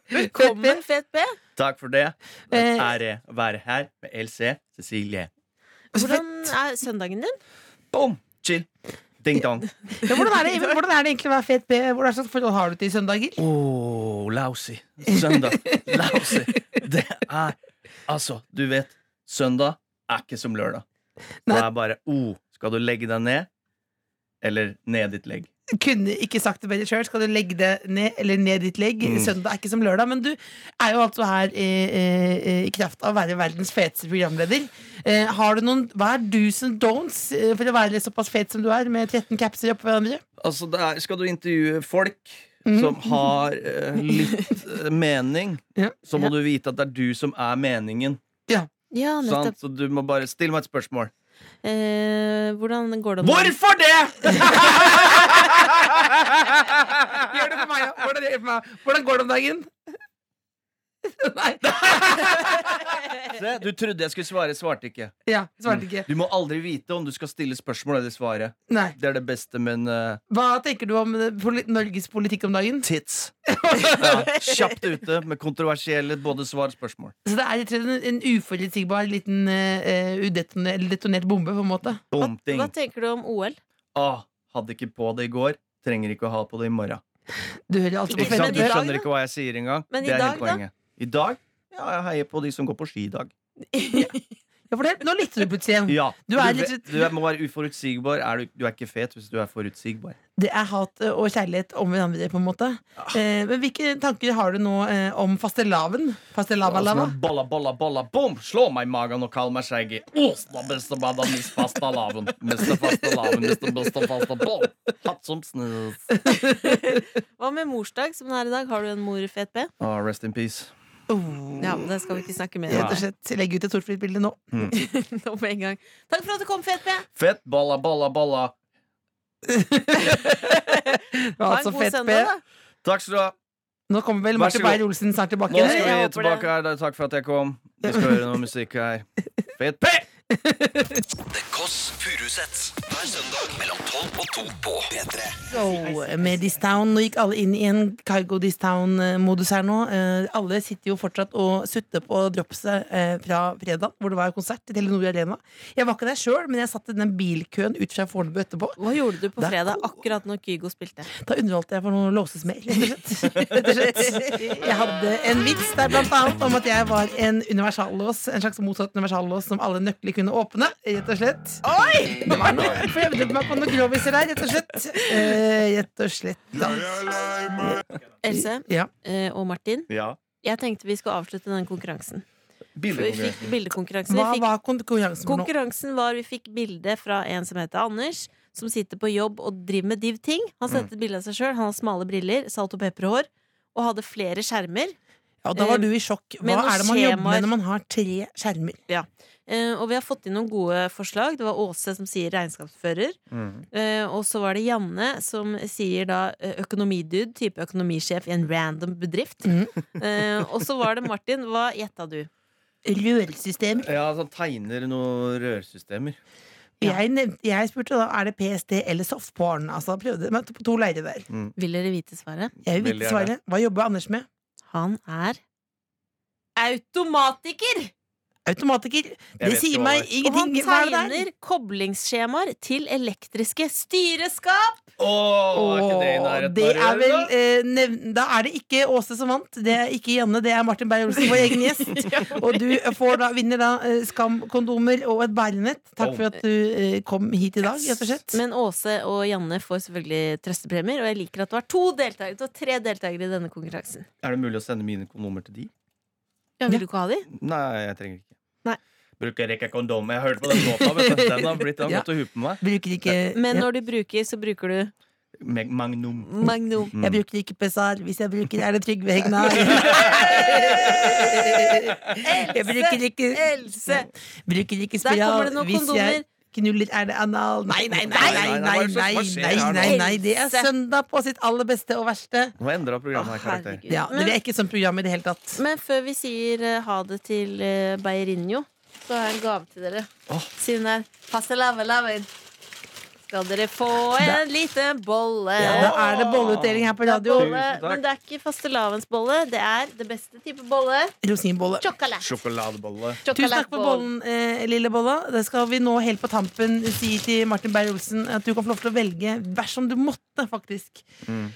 Speaker 3: Velkommen, Fet P.
Speaker 6: Takk for det. Det
Speaker 4: Eh.
Speaker 6: er ære å være her med LC Cecilie.
Speaker 3: Hvordan er søndagen din?
Speaker 6: Boom! Chill. Ding dong.
Speaker 4: Ja, hvordan, er det, hvordan er det egentlig å være fet B? Hvordan slags forhold har du til søndager?
Speaker 6: Oh, lousy. Søndag. Lousy. Det er Altså, du vet, søndag er ikke som lørdag. Det
Speaker 4: Nei.
Speaker 6: er bare oh, Skal du legge deg ned? Eller ned ditt legg?
Speaker 4: Kunne ikke sagt det bedre sjøl. Skal du legge det ned eller ned ditt legg?
Speaker 6: Mm.
Speaker 4: Søndag er ikke som lørdag, men du er jo altså her i, i, i kraft av å være verdens feteste programleder. Eh, har du noen, Hva er do's and don'ts eh, for å være såpass fet som du er, med 13 capser oppå hverandre?
Speaker 6: Altså, det er, skal du intervjue folk
Speaker 4: Mm.
Speaker 6: som har eh, litt eh, mening,
Speaker 4: Ja.
Speaker 6: så må du vite at det er du som er meningen.
Speaker 3: Ja, nettopp.
Speaker 6: Sant? Så du må bare stille meg et spørsmål.
Speaker 3: Eh, hvordan går det om dagen?
Speaker 6: Hvorfor det?!
Speaker 4: Gjør det for meg, ja. Hvordan, gjør det for meg? hvordan går det om dagen? Nei.
Speaker 6: Se, du trodde jeg skulle svare, svarte ikke.
Speaker 4: Ja, svarte ikke.
Speaker 6: Du må aldri vite om du skal stille spørsmål eller svare.
Speaker 4: Nei.
Speaker 6: Det er det beste, men eh,
Speaker 4: Hva tenker du om eh, poli Norges politikk om dagen?
Speaker 6: tits. Ja, kjapt ute med kontroversielle både svar og spørsmål.
Speaker 4: Så det er rett og slett en, en uforutsigbar liten eh, udetonert, eller detonert bombe, på en måte.
Speaker 6: Dum ting.
Speaker 3: Hva tenker du om OL?
Speaker 6: Ah, hadde ikke på det i går. Trenger ikke å ha på det i morgen.
Speaker 4: Du hører altså på
Speaker 6: Ikke
Speaker 3: Men
Speaker 4: Fett
Speaker 6: sant? Du
Speaker 3: i dag,
Speaker 6: skjønner
Speaker 3: da?
Speaker 6: ikke hva jeg sier engang.
Speaker 3: Men i
Speaker 6: Det er
Speaker 3: dag,
Speaker 6: hele
Speaker 3: da?
Speaker 6: poenget. I dag? Ja, jeg heier på de som går på ski i dag.
Speaker 4: Ja, for det, nå lytter du plutselig
Speaker 3: Mm.
Speaker 4: igjen.
Speaker 6: Ja.
Speaker 4: Du er
Speaker 6: vet-
Speaker 4: litt-
Speaker 6: du er- må være uforutsigbar. Er du, du er ikke fet hvis du er forutsigbar.
Speaker 4: Det er hat eh, og kjærlighet om hverandre, på en måte.
Speaker 6: Ah.
Speaker 4: Eh, men hvilke tanker har du nå eh, om fastelavn? Fastelavn-lava?
Speaker 6: Altså, Balla, balla, balla, bom! Slå meg i magen og kall meg skjeggy. Osla, beste bada, miss fasta laven. Miste fasta laven, miste beste fasta bom. Hatt som snus.
Speaker 3: Hva med morsdag, som det er i dag? Har du en mor, Fet P?
Speaker 6: Ah, rest in peace.
Speaker 4: Oh.
Speaker 3: Ja, men det skal vi ikke snakke mer
Speaker 4: Rett
Speaker 3: om
Speaker 4: og slett. Legg ut et sortfritt bilde nå.
Speaker 3: nå med en gang. Takk for at du kom, Fet P!
Speaker 6: Fett balla, balla, balla.
Speaker 3: Ha
Speaker 4: Altså,
Speaker 3: en god
Speaker 4: Fett
Speaker 3: søndag,
Speaker 4: B.
Speaker 3: da.
Speaker 6: Takk skal du ha.
Speaker 4: Nå kommer vel
Speaker 6: Vær så
Speaker 4: Martin
Speaker 6: god.
Speaker 4: Beyer-Olsen snart tilbake.
Speaker 6: Nå
Speaker 4: eller?
Speaker 6: skal
Speaker 3: jeg
Speaker 6: vi
Speaker 3: håper det.
Speaker 6: tilbake her. Takk for at jeg kom. Vi skal høre noe musikk her. Fet P!
Speaker 7: The Kåss Furuseths. Hver søndag mellom 12 og 2 på P3.
Speaker 4: Go med This Town. Nå gikk alle inn i en Cargo This Town-modus her nå. Eh, alle sitter jo fortsatt og sutter på dropset eh, fra fredag, hvor det var konsert i Telenor Arena. Jeg var ikke der sjøl, men jeg satt i den bilkøen ut fra Fornebu etterpå.
Speaker 3: Hva gjorde du på
Speaker 4: Det er
Speaker 3: fredag
Speaker 4: god.
Speaker 3: akkurat når Kygo spilte?
Speaker 4: Da underholdt jeg for noe låsesmell. rett og slett. Jeg hadde en vits der blant annet om at jeg var en universallås, en slags motsatt universallås som alle nøkler kunne åpne, rett og slett. Det var noe, prøvde meg på noen groviser der, rett og slett. Eh, rett og slett. Da.
Speaker 3: Else
Speaker 4: Ja.
Speaker 3: eh, og Martin,
Speaker 6: Ja.
Speaker 3: jeg tenkte vi skulle avslutte den konkurransen. Vi fikk
Speaker 6: Bildekonkurransen.
Speaker 3: bildekonkurransen.
Speaker 4: Hva
Speaker 3: Vi fikk,
Speaker 4: var kon- konkurransen for noe?
Speaker 3: konkurransen var vi fikk bilde fra en som heter Anders, som sitter på jobb og driver med div ting.
Speaker 4: Mm.
Speaker 3: Han sendte et bilde av seg sjøl. Han har smale briller, salt og pepperhår. Og hadde flere skjermer.
Speaker 4: Ja, da var du i sjokk.
Speaker 3: eh, med
Speaker 4: Hva
Speaker 3: noen
Speaker 4: er det man jobber
Speaker 3: skjemaer.
Speaker 4: med når man har tre skjermer?
Speaker 3: Eh, og vi har fått inn noen gode forslag. Det var Åse som sier regnskapsfører.
Speaker 6: Mm.
Speaker 3: Eh, og så var det Janne som sier da eh, økonomidude, type økonomisjef i en random bedrift.
Speaker 4: Mhm.
Speaker 3: Eh, og så var det Martin. Hva gjetta du?
Speaker 4: Rørsystemer.
Speaker 6: Ja, sånn tegner noen rørsystemer.
Speaker 4: Jeg, nevnte, jeg spurte da er det PST eller softporn. Altså, prøvde meg på to leirer der.
Speaker 3: Vil dere vite svaret?
Speaker 4: Jeg vil
Speaker 6: Veldig
Speaker 4: vite svaret. Hva jobber Anders med?
Speaker 3: Han er automatiker!
Speaker 4: Automatiker. Det
Speaker 6: vet
Speaker 4: sier
Speaker 6: ikke hva
Speaker 4: meg
Speaker 6: det
Speaker 3: Og han
Speaker 4: ingenting. Hva er det der?
Speaker 3: tegner koblingsskjemaer til elektriske styreskap!
Speaker 6: Åh, er ikke det i
Speaker 4: Åh,
Speaker 6: nærheten
Speaker 4: det
Speaker 6: av
Speaker 4: er
Speaker 6: røret,
Speaker 4: vel,
Speaker 6: da?
Speaker 4: eh, nevn- da er det ikke Åse som vant, det er ikke Janne, det er Martin Beyer-Olsen, vår egen gjest. Og du får da, vinner da eh, Skam-kondomer og et bærenett. Takk for at du eh, kom hit i dag, rett og slett.
Speaker 3: Men Åse og Janne får selvfølgelig trøstepremier, og jeg liker at det var to deltakere, det var tre deltakere i denne konkurransen.
Speaker 6: Er det mulig å sende mine kondomer til de?
Speaker 3: Ja, vil du ikke ha de?
Speaker 6: Nei, jeg trenger ikke.
Speaker 3: Nei.
Speaker 6: Bruker ikke kondom. Jeg hørte på den låta. vet du. Den har blitt den har
Speaker 4: Ja.
Speaker 6: gått og huet på meg.
Speaker 4: Bruker ikke
Speaker 3: Men
Speaker 4: ja.
Speaker 3: når du bruker, så bruker du
Speaker 6: Mag- Magnum.
Speaker 3: Magnum.
Speaker 6: Mm.
Speaker 4: Jeg bruker ikke pesar. Hvis jeg bruker, er det Trygve Hegnar. jeg bruker ikke
Speaker 3: Else!
Speaker 4: Bruker ikke
Speaker 3: Der kommer
Speaker 4: spiral.
Speaker 3: det noen
Speaker 4: Hvis jeg
Speaker 3: kondomer.
Speaker 4: knuller, er det anal. Nei, nei, nei, nei,
Speaker 6: Nei, nei,
Speaker 4: nei,
Speaker 6: hva er det som
Speaker 4: nei,
Speaker 6: skjer
Speaker 4: nei,
Speaker 6: her nå?
Speaker 4: nei, nei. Det er
Speaker 3: Else.
Speaker 4: søndag på sitt aller beste og verste.
Speaker 6: Nå har jeg endra programmet her, karakter.
Speaker 3: Herregud.
Speaker 4: Ja,
Speaker 3: Men-
Speaker 4: Det er ikke sånn program i det hele tatt.
Speaker 3: Men før vi sier eh, ha det til eh, Beirinho, så har jeg en gave til dere.
Speaker 6: Åh.
Speaker 3: Siden det er pasta lave laven, skal dere få en liten bolle.
Speaker 4: Ja, da er det bolleutdeling her på
Speaker 3: Det er
Speaker 4: radio.
Speaker 3: bolle,
Speaker 6: Tusen takk.
Speaker 3: men det er ikke fastelavnsbolle. Det er det beste type bolle.
Speaker 4: Rosinbolle.
Speaker 3: Sjokolade.
Speaker 6: Sjokoladebolle.
Speaker 4: Tusen takk for bollen, eh, lille bolla. Det skal vi nå helt på tampen si til Martin Beyer-Olsen at du kan få lov til å velge dersom du måtte, faktisk.
Speaker 6: Mm.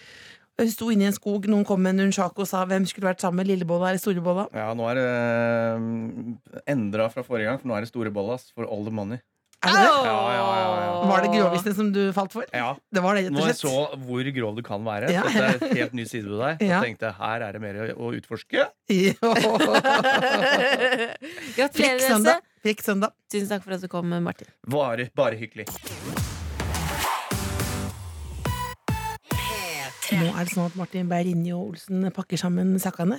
Speaker 4: Hun sto inne i en skog, noen kom med en nunchako og sa hvem skulle vært sammen med lillebolla eller storebolla.
Speaker 6: Ja, nå er det eh, endra fra forrige gang, for nå er det store bollas for all the money.
Speaker 4: Er det det?
Speaker 6: Ja, ja, ja, ja.
Speaker 4: Var det grovisen som du falt for?
Speaker 6: Ja.
Speaker 4: Det var det, rett
Speaker 6: Når
Speaker 4: og
Speaker 6: jeg
Speaker 4: slett.
Speaker 6: så hvor grov du kan være,
Speaker 4: Ja.
Speaker 6: dette er et helt ny side ved deg,
Speaker 4: Ja.
Speaker 6: så tenkte jeg her er det mer å- å utforske.
Speaker 3: Gratulerer,
Speaker 4: Frekk
Speaker 3: Else.
Speaker 4: søndag. Frekk søndag.
Speaker 3: Tusen takk for at du kom, Martin.
Speaker 6: Bare, bare hyggelig.
Speaker 4: Nå er det sånn at Martin Beirinje og Olsen pakker sammen sakene.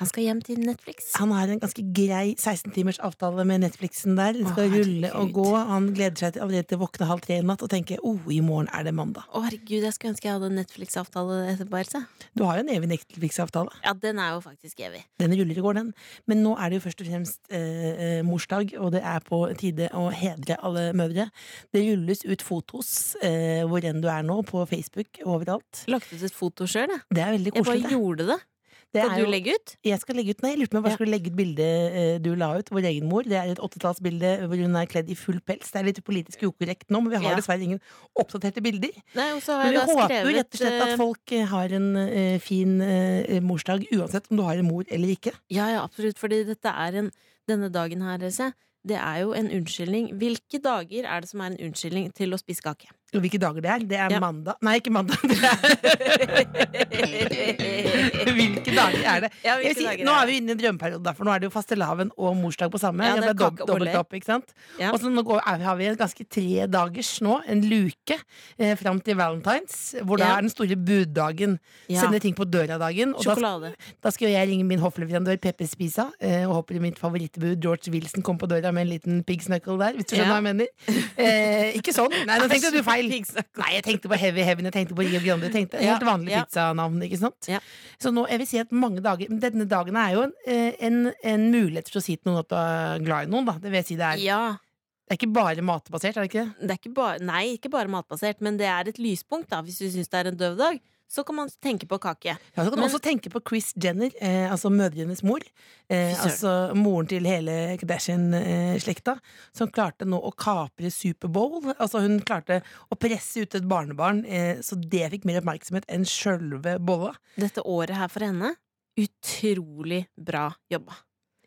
Speaker 3: Han skal hjem til Netflix.
Speaker 4: Han har en ganske grei 16-timers avtale med Netflixen der. Den skal
Speaker 3: Å,
Speaker 4: rulle og
Speaker 3: herregud.
Speaker 4: gå. Han gleder seg til allerede til å våkne halv tre i natt og tenke oh, i morgen er det mandag.
Speaker 3: Å, herregud, jeg skulle ønske jeg hadde en Netflix-avtale etterpå, Else.
Speaker 4: Du har jo en evig Netflix-avtale.
Speaker 3: Ja, den er jo faktisk evig.
Speaker 4: Den ruller i går, den. Men nå er det jo først og fremst eh, eh, morsdag, og det er på tide å hedre alle mødre. Det rulles ut fotos eh, hvor enn du er nå, på Facebook og overalt.
Speaker 3: Lagt ut et foto sjøl, jeg.
Speaker 4: Det er veldig
Speaker 3: Jeg bare
Speaker 4: koselig.
Speaker 3: gjorde det.
Speaker 4: det. Det
Speaker 3: Skal
Speaker 4: er
Speaker 3: du
Speaker 4: jo-
Speaker 3: legge ut?
Speaker 4: Jeg skal legge ut, nei, jeg lurte på om jeg bare
Speaker 3: Ja.
Speaker 4: skulle legge ut bildet eh, du la ut, vår egen mor. Det er et åttetallsbilde hvor hun er kledd i full pels. Det er litt politisk ukorrekt nå, men vi har
Speaker 3: Ja.
Speaker 4: dessverre ingen oppdaterte bilder.
Speaker 3: Nei, og så har
Speaker 4: Men
Speaker 3: jeg
Speaker 4: vi
Speaker 3: da
Speaker 4: håper jo
Speaker 3: skrevet
Speaker 4: rett og slett at
Speaker 3: eh,
Speaker 4: folk eh, har en eh, fin eh, morsdag, uansett om du har en mor eller ikke.
Speaker 3: Ja, ja, absolutt, fordi dette er en Denne dagen her, Else, det er jo en unnskyldning. Hvilke dager er det som er en unnskyldning til å spise kake?
Speaker 4: Og hvilke dager det er. Det er
Speaker 3: Ja.
Speaker 4: mandag Nei, ikke mandag. Det er Hvilke dager er det?
Speaker 3: Ja,
Speaker 4: Jeg vil si, nå er vi inne i en drømmeperioden, for nå er det jo fastelavn og morsdag på samme.
Speaker 3: Ja,
Speaker 4: det
Speaker 3: det er
Speaker 4: ble dob
Speaker 3: kake og
Speaker 4: dobbelt
Speaker 3: boller.
Speaker 4: opp, ikke sant?
Speaker 3: Ja.
Speaker 4: Og så nå går, er, har vi en ganske tre dagers nå, en luke, eh, fram til valentines, hvor da
Speaker 3: Ja.
Speaker 4: er den store buddagen.
Speaker 3: Ja.
Speaker 4: Sende ting på døra-dagen. Og da,
Speaker 3: Sjokolade.
Speaker 4: da skal jo jeg ringe min hoffleverandør Pepper Spisa, eh, og håper mitt favorittbud George Wilson kom på døra med en liten pig's knuckle der, hvis du skjønner
Speaker 3: Ja.
Speaker 4: hva jeg mener. Eh, ikke sånn. Nei, nå tenkte du feil. feil.
Speaker 3: Piggsnakk.
Speaker 4: Nei, jeg tenkte på Heavy Heaven, jeg tenkte på Rio Grande. Jeg tenkte
Speaker 3: Ja,
Speaker 4: Helt vanlig
Speaker 3: ja.
Speaker 4: pizzanavn, ikke sant?
Speaker 3: Ja.
Speaker 4: Så nå, jeg vil si at mange dager men Denne dagen er jo en, eh, en, en mulighet for å si til noen at du er glad i noen, da. Det vil jeg si det er.
Speaker 3: Ja.
Speaker 4: Det er ikke bare matbasert, er det ikke det?
Speaker 3: Det er ikke bare, nei, ikke bare matbasert, men det er et lyspunkt, da. Hvis du syns det er en døv dag, så kan man tenke på kake.
Speaker 4: Ja, så kan du
Speaker 3: Men-
Speaker 4: også tenke på Chris Jenner, eh, altså mødrenes mor. Eh,
Speaker 3: Fy søren.
Speaker 4: altså moren til hele Kardashian-slekta, som klarte nå å kapre Superbowl. Altså hun klarte å presse ut et barnebarn, eh, så det fikk mer oppmerksomhet enn sjølve bolla.
Speaker 3: Dette året her for henne, utrolig bra jobba.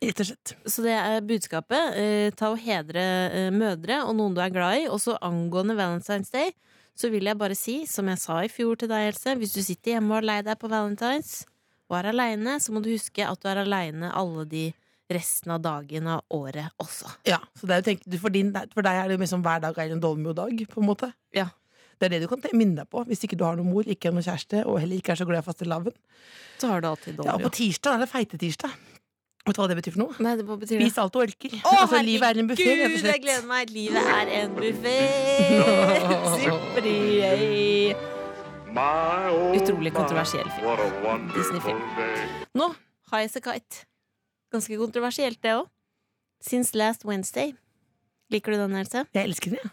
Speaker 4: Rett og slett.
Speaker 3: Så det er budskapet. Eh, ta og hedre eh, mødre og noen du er glad i. Og så angående Valentine's Day, så vil jeg bare si, som jeg sa i fjor til deg, Else, hvis du sitter hjemme og er lei deg på Valentine's og er aleine, så må du huske at du er aleine alle de resten av dagen av året også.
Speaker 4: Ja, så det er jo tenk, du- for, din, for deg er det jo liksom hver dag er en Dolmio-dag, på en måte.
Speaker 3: Ja.
Speaker 4: Det er det du kan te- minne deg på hvis ikke du har noen mor, ikke har noen kjæreste, og heller ikke er så glad i fastelavn.
Speaker 3: Så har du alltid
Speaker 4: Ja, og
Speaker 3: dårlig
Speaker 4: på tirsdag er det feitetirsdag. Vet du hva det betyr for noe?
Speaker 3: Nei, det, hva betyr det?
Speaker 4: Spis alt du orker.
Speaker 3: Å,
Speaker 4: altså, livet er en buffé,
Speaker 3: herregud,
Speaker 4: rett og slett.
Speaker 3: Jeg gleder meg. Livet er en buffé. Utrolig kontroversiell film. Disney-film. Nå har jeg sett Kite. Ganske kontroversielt, det òg. Since last Wednesday. Liker du den, Else?
Speaker 4: Jeg elsker den, jeg.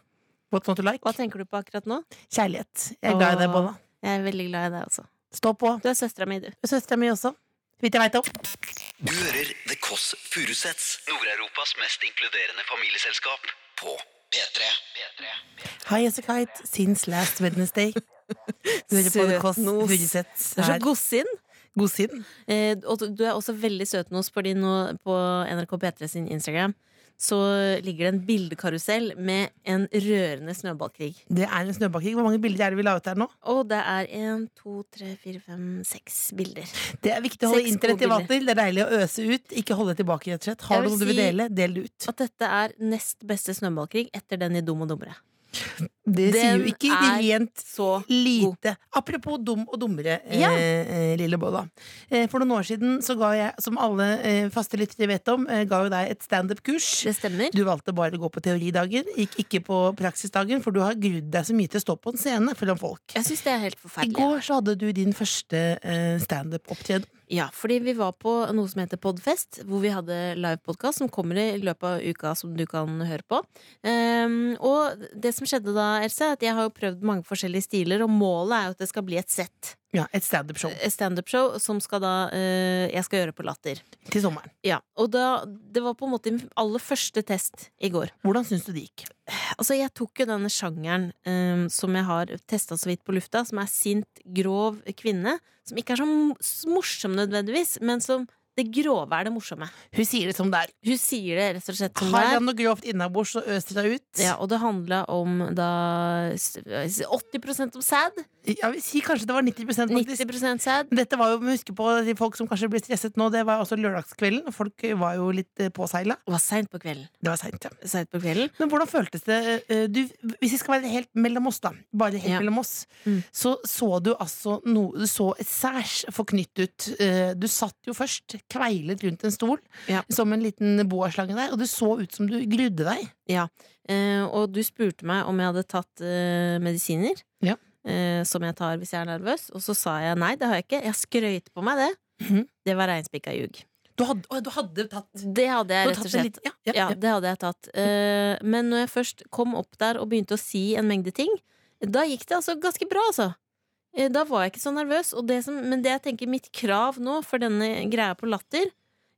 Speaker 4: What's not to like?
Speaker 3: Hva tenker du på akkurat nå?
Speaker 4: Kjærlighet. Jeg er glad i deg,
Speaker 3: Åh.
Speaker 4: Bolla.
Speaker 3: Jeg er veldig glad i deg også.
Speaker 4: Stå på.
Speaker 3: Du er søstera mi, du.
Speaker 4: Søstera mi også. Så vidt jeg veit om.
Speaker 7: Du hører The Koss Furusets. Nord-Europas mest inkluderende familieselskap. På P3.
Speaker 4: Hi, as a kite. Since last Wednesday. Du hører på The Kåss
Speaker 3: Søtnos.
Speaker 4: Furuseths
Speaker 3: Du er så
Speaker 4: her.
Speaker 3: godsinn.
Speaker 4: God siden.
Speaker 3: Eh, og du- du er også veldig søt nå, fordi nå på NRK P3 sin Instagram så ligger det en bildekarusell med en rørende snøballkrig.
Speaker 4: Det er en snøballkrig. Hvor mange bilder er det vi la ut der nå?
Speaker 3: Og det er én, to, tre, fire, fem, seks bilder.
Speaker 4: Det er viktig å holde
Speaker 3: Seks
Speaker 4: internett i
Speaker 3: gode
Speaker 4: vater. Det er deilig å øse ut. Ikke holde tilbake, rett og slett. Har du
Speaker 3: Jeg vil
Speaker 4: noe du vil
Speaker 3: si-
Speaker 4: dele, del det ut.
Speaker 3: At dette er nest beste snøballkrig etter den i Dum og dummere.
Speaker 4: Det sier
Speaker 3: Den
Speaker 4: jo ikke
Speaker 3: er
Speaker 4: rent
Speaker 3: Så
Speaker 4: Lite. Apropos dum og dummere,
Speaker 3: Ja.
Speaker 4: eh, eh, lille Bolla. Eh, for noen år siden så ga jeg, som alle eh, faste lyttere vet om, eh, ga jo deg et standup-kurs.
Speaker 3: Det stemmer.
Speaker 4: Du valgte bare å gå på teoridagen, gikk ikke på praksisdagen, for du har grudd deg så mye til å stå på en scene foran folk.
Speaker 3: Jeg syns det er helt
Speaker 4: I
Speaker 3: forferdelig.
Speaker 4: går så hadde du din første eh, standup-opptreden.
Speaker 3: Ja, fordi vi var på noe som heter Podfest, hvor vi hadde livepodkast som kommer i løpet av uka, som du kan høre på. Ehm, og det som skjedde da, Else, er at jeg har jo prøvd mange forskjellige stiler, og målet er jo at det skal bli et sett.
Speaker 4: Ja, et standup-show
Speaker 3: Et standup-show som skal da eh, jeg skal gjøre på Latter.
Speaker 4: til sommeren.
Speaker 3: Ja, Og da, det var på en måte min aller første test i går.
Speaker 4: Hvordan syns du det gikk?
Speaker 3: Altså, jeg tok jo denne sjangeren eh, som jeg har testa så vidt på lufta, som er sint, grov kvinne. Som ikke er så m- s- morsom nødvendigvis, men som det grove er det morsomme.
Speaker 4: Hun sier det som det er.
Speaker 3: Hun sier det rett og slett som
Speaker 4: Har
Speaker 3: det
Speaker 4: han
Speaker 3: er.
Speaker 4: noe grovt innabords, så øser det ut.
Speaker 3: Ja, og det handla om da s- 80 om sæd.
Speaker 4: Jeg vil si kanskje det var 90 faktisk.
Speaker 3: 90 sæd.
Speaker 4: Dette var jo, husk på de folk som kanskje blir stresset nå, det var også lørdagskvelden. og Folk var jo litt eh, påseila.
Speaker 3: Det var seint på kvelden.
Speaker 4: Det var seint, ja.
Speaker 3: Sent på kvelden.
Speaker 4: Men hvordan føltes det? eh, Du, hvis vi skal være helt mellom oss, da. Bare helt
Speaker 3: Ja.
Speaker 4: mellom oss.
Speaker 3: Mm.
Speaker 4: Så så du altså noe Du så særs forknytt ut. Eh, Du satt jo først kveilet rundt en stol
Speaker 3: Ja.
Speaker 4: som en liten boaslange der, og du så ut som du grudde deg.
Speaker 3: Eh, og du spurte meg om jeg hadde tatt eh, medisiner.
Speaker 4: Ja.
Speaker 3: Eh, som jeg tar hvis jeg er nervøs. Og så sa jeg nei, det har jeg ikke. Jeg skrøyt på meg det.
Speaker 4: Mhm.
Speaker 3: Det var reinspikka ljug.
Speaker 4: Du hadde, å, du hadde tatt
Speaker 3: Det hadde jeg
Speaker 4: du hadde
Speaker 3: rett og
Speaker 4: tatt en
Speaker 3: slett.
Speaker 4: liten- ja, ja,
Speaker 3: Ja, det hadde jeg tatt. Eh, men når jeg først kom opp der og begynte å si en mengde ting, da gikk det altså ganske bra, altså. Eh, Da var jeg ikke så nervøs. Og det som, men det jeg tenker mitt krav nå for denne greia på latter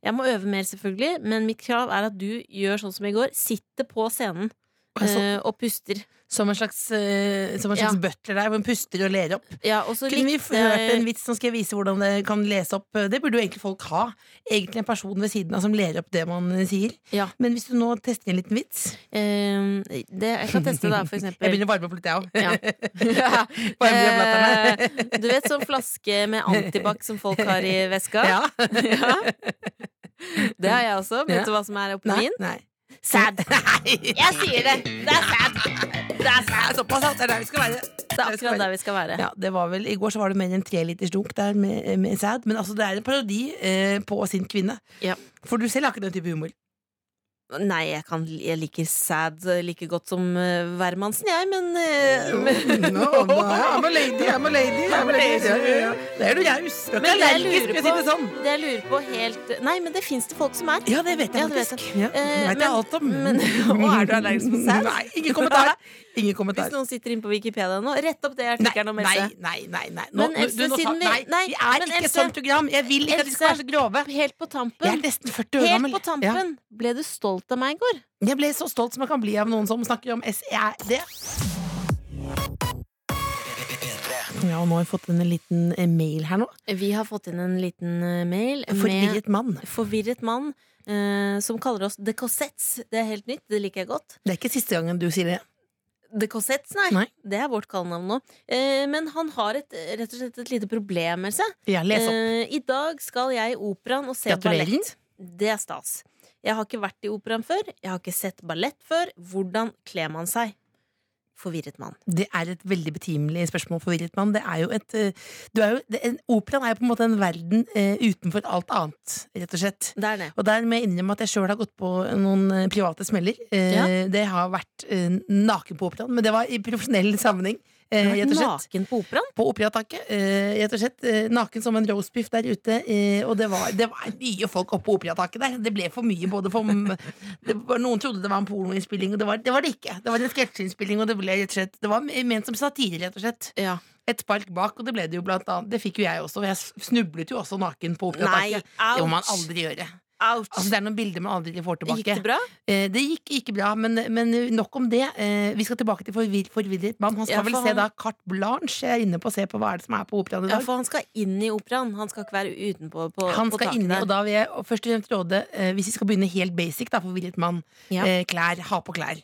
Speaker 3: Jeg må øve mer, selvfølgelig, men mitt krav er at du gjør sånn som i går. Sitter på scenen
Speaker 4: Og så-
Speaker 3: eh, og puster.
Speaker 4: Som en slags, eh, som en slags
Speaker 3: Ja.
Speaker 4: butler der, hvor hun puster og ler opp.
Speaker 3: Ja, og så
Speaker 4: Kunne vi
Speaker 3: likte
Speaker 4: hørt en
Speaker 3: jeg
Speaker 4: vits som skal jeg vise hvordan det kan lese opp? Det burde jo egentlig folk ha. Egentlig en person ved siden av som ler opp det man sier.
Speaker 3: Ja.
Speaker 4: Men hvis du nå tester en liten vits
Speaker 3: eh, det, Jeg kan teste, da, for
Speaker 4: Jeg
Speaker 3: eksempel.
Speaker 4: begynner å varme opp litt, jeg òg.
Speaker 3: Ja.
Speaker 4: Varme opp
Speaker 3: Eh, du vet sånn flaske med antibac som folk har i veska?
Speaker 4: blatterne. Ja.
Speaker 3: Ja. Det har jeg også. Vet
Speaker 4: Ja.
Speaker 3: du hva som er oppi
Speaker 4: Nei,
Speaker 3: min?
Speaker 4: nei.
Speaker 3: Sæd!
Speaker 4: Nei.
Speaker 3: Jeg sier det! Det er sæd! Det er sæd!
Speaker 4: Såpass, altså. Det er der vi skal være.
Speaker 3: Det er akkurat der vi skal være.
Speaker 4: Ja, det var vel, I går så var det mer enn tre liters dunk der med, med sæd. Men altså, det er en parodi eh, på sint kvinne.
Speaker 3: Ja.
Speaker 4: For du selv har ikke den type humor.
Speaker 3: Nei, jeg, kan, jeg liker Sad like godt som eh, hvermannsen, jeg, men eh, men-
Speaker 4: No, no, I'm a lady, I'm a lady. I'm a lady. Ja, ja, ja. Det er du, jeg er us- jeg er
Speaker 3: Men
Speaker 4: ikke
Speaker 3: jeg
Speaker 4: allergisk,
Speaker 3: lurer
Speaker 4: for å si det sånn.
Speaker 3: Det jeg lurer på helt Nei, men det fins det folk som er.
Speaker 4: Ja, det vet jeg
Speaker 3: Ja, det vet
Speaker 4: faktisk.
Speaker 3: jeg.
Speaker 4: Ja, det vet
Speaker 3: Eh,
Speaker 4: jeg
Speaker 3: men-
Speaker 4: alt om.
Speaker 3: men- og er du allergisk mot sau?
Speaker 4: Nei, ingen kommentar. Ingen kommentar.
Speaker 3: Hvis noen sitter inne på Wikipedia nå, rett opp det
Speaker 4: Nei,
Speaker 3: artikkelen om
Speaker 4: nei,
Speaker 3: Else.
Speaker 4: nei, nei, nei. Nå,
Speaker 3: Men
Speaker 4: nå-
Speaker 3: Else,
Speaker 4: du, nå sa-
Speaker 3: siden vi-
Speaker 4: nei,
Speaker 3: nei,
Speaker 4: vi er
Speaker 3: men
Speaker 4: ikke et
Speaker 3: Else-
Speaker 4: sånt program. Jeg vil ikke at vi skal være
Speaker 3: Else-
Speaker 4: så grove.
Speaker 3: Helt på
Speaker 4: Jeg er
Speaker 3: tampen.
Speaker 4: nesten 40 år
Speaker 3: Helt
Speaker 4: gammel.
Speaker 3: på
Speaker 4: Ja.
Speaker 3: tampen. Ble du stolt av meg i går?
Speaker 4: Jeg ble så stolt som jeg kan bli av noen som snakker om E SED. Ja, og nå har vi fått en liten eh, mail her nå.
Speaker 3: Vi har fått inn en liten eh, mail med
Speaker 4: Forvirret mann.
Speaker 3: forvirret mann eh, som kaller oss The Cossettes. Det er helt nytt, det liker jeg godt.
Speaker 4: Det er ikke siste gangen du sier det.
Speaker 3: The Cossettes, nei.
Speaker 4: Nei.
Speaker 3: Det er vårt kallenavn nå. Eh, men han har et, rett og slett et lite problem med seg.
Speaker 4: Ja, les opp.
Speaker 3: Eh, I dag skal jeg i operaen og se
Speaker 4: Gratulerer.
Speaker 3: ballett. Det er stas. Jeg har ikke vært i operaen før, jeg har ikke sett ballett før. Hvordan kler man seg? Forvirret mann.
Speaker 4: Det er et veldig betimelig spørsmål, forvirret mann. Det er jo et eh, du er jo, det, en, Operaen er jo på en måte en verden eh, utenfor alt annet, rett og slett.
Speaker 3: Det er det.
Speaker 4: Og der må jeg innrømme at jeg sjøl har gått på noen eh, private smeller. Eh, Det har vært eh, naken på operaen, men det var i profesjonell sammenheng. Eh,
Speaker 3: Jeg
Speaker 4: rett
Speaker 3: har
Speaker 4: og
Speaker 3: vært
Speaker 4: slett.
Speaker 3: naken på operaen.
Speaker 4: På operataket. Eh, rett og slett. Eh, naken som en roastbiff der ute. Eh, og det var, det var mye folk oppe på operataket der. Det ble for mye både for det var, Noen trodde det var en pornoinnspilling, og det var det, var det ikke. Det var en sketsjeinnspilling, og det ble rett og slett Det var ment som satire, rett og slett.
Speaker 3: Ja.
Speaker 4: Et spark bak, og det ble det jo blant annet. Det fikk jo jeg også. og Jeg snublet jo også naken på
Speaker 3: Nei,
Speaker 4: operataket. Det må man
Speaker 3: ouch!
Speaker 4: aldri gjøre.
Speaker 3: ouch.
Speaker 4: Altså, det er noen bilder man aldri får tilbake.
Speaker 3: Gikk det bra?
Speaker 4: Eh, det gikk ikke bra, men, men nok om det. Eh, vi skal tilbake til forvir forvirret mann. Han skal
Speaker 3: Ja, for
Speaker 4: vel se
Speaker 3: han-
Speaker 4: da Carte Blanche. Jeg er inne på å se på hva er det som er på operaen i
Speaker 3: Ja,
Speaker 4: dag.
Speaker 3: for han skal inn i operaen. Han skal ikke være utenpå på,
Speaker 4: han
Speaker 3: på
Speaker 4: skal
Speaker 3: taket
Speaker 4: inn,
Speaker 3: der.
Speaker 4: og da vil jeg og først og fremst råde, eh, hvis vi skal begynne helt basic, da, forvirret mann,
Speaker 3: Ja.
Speaker 4: eh, klær, ha på klær.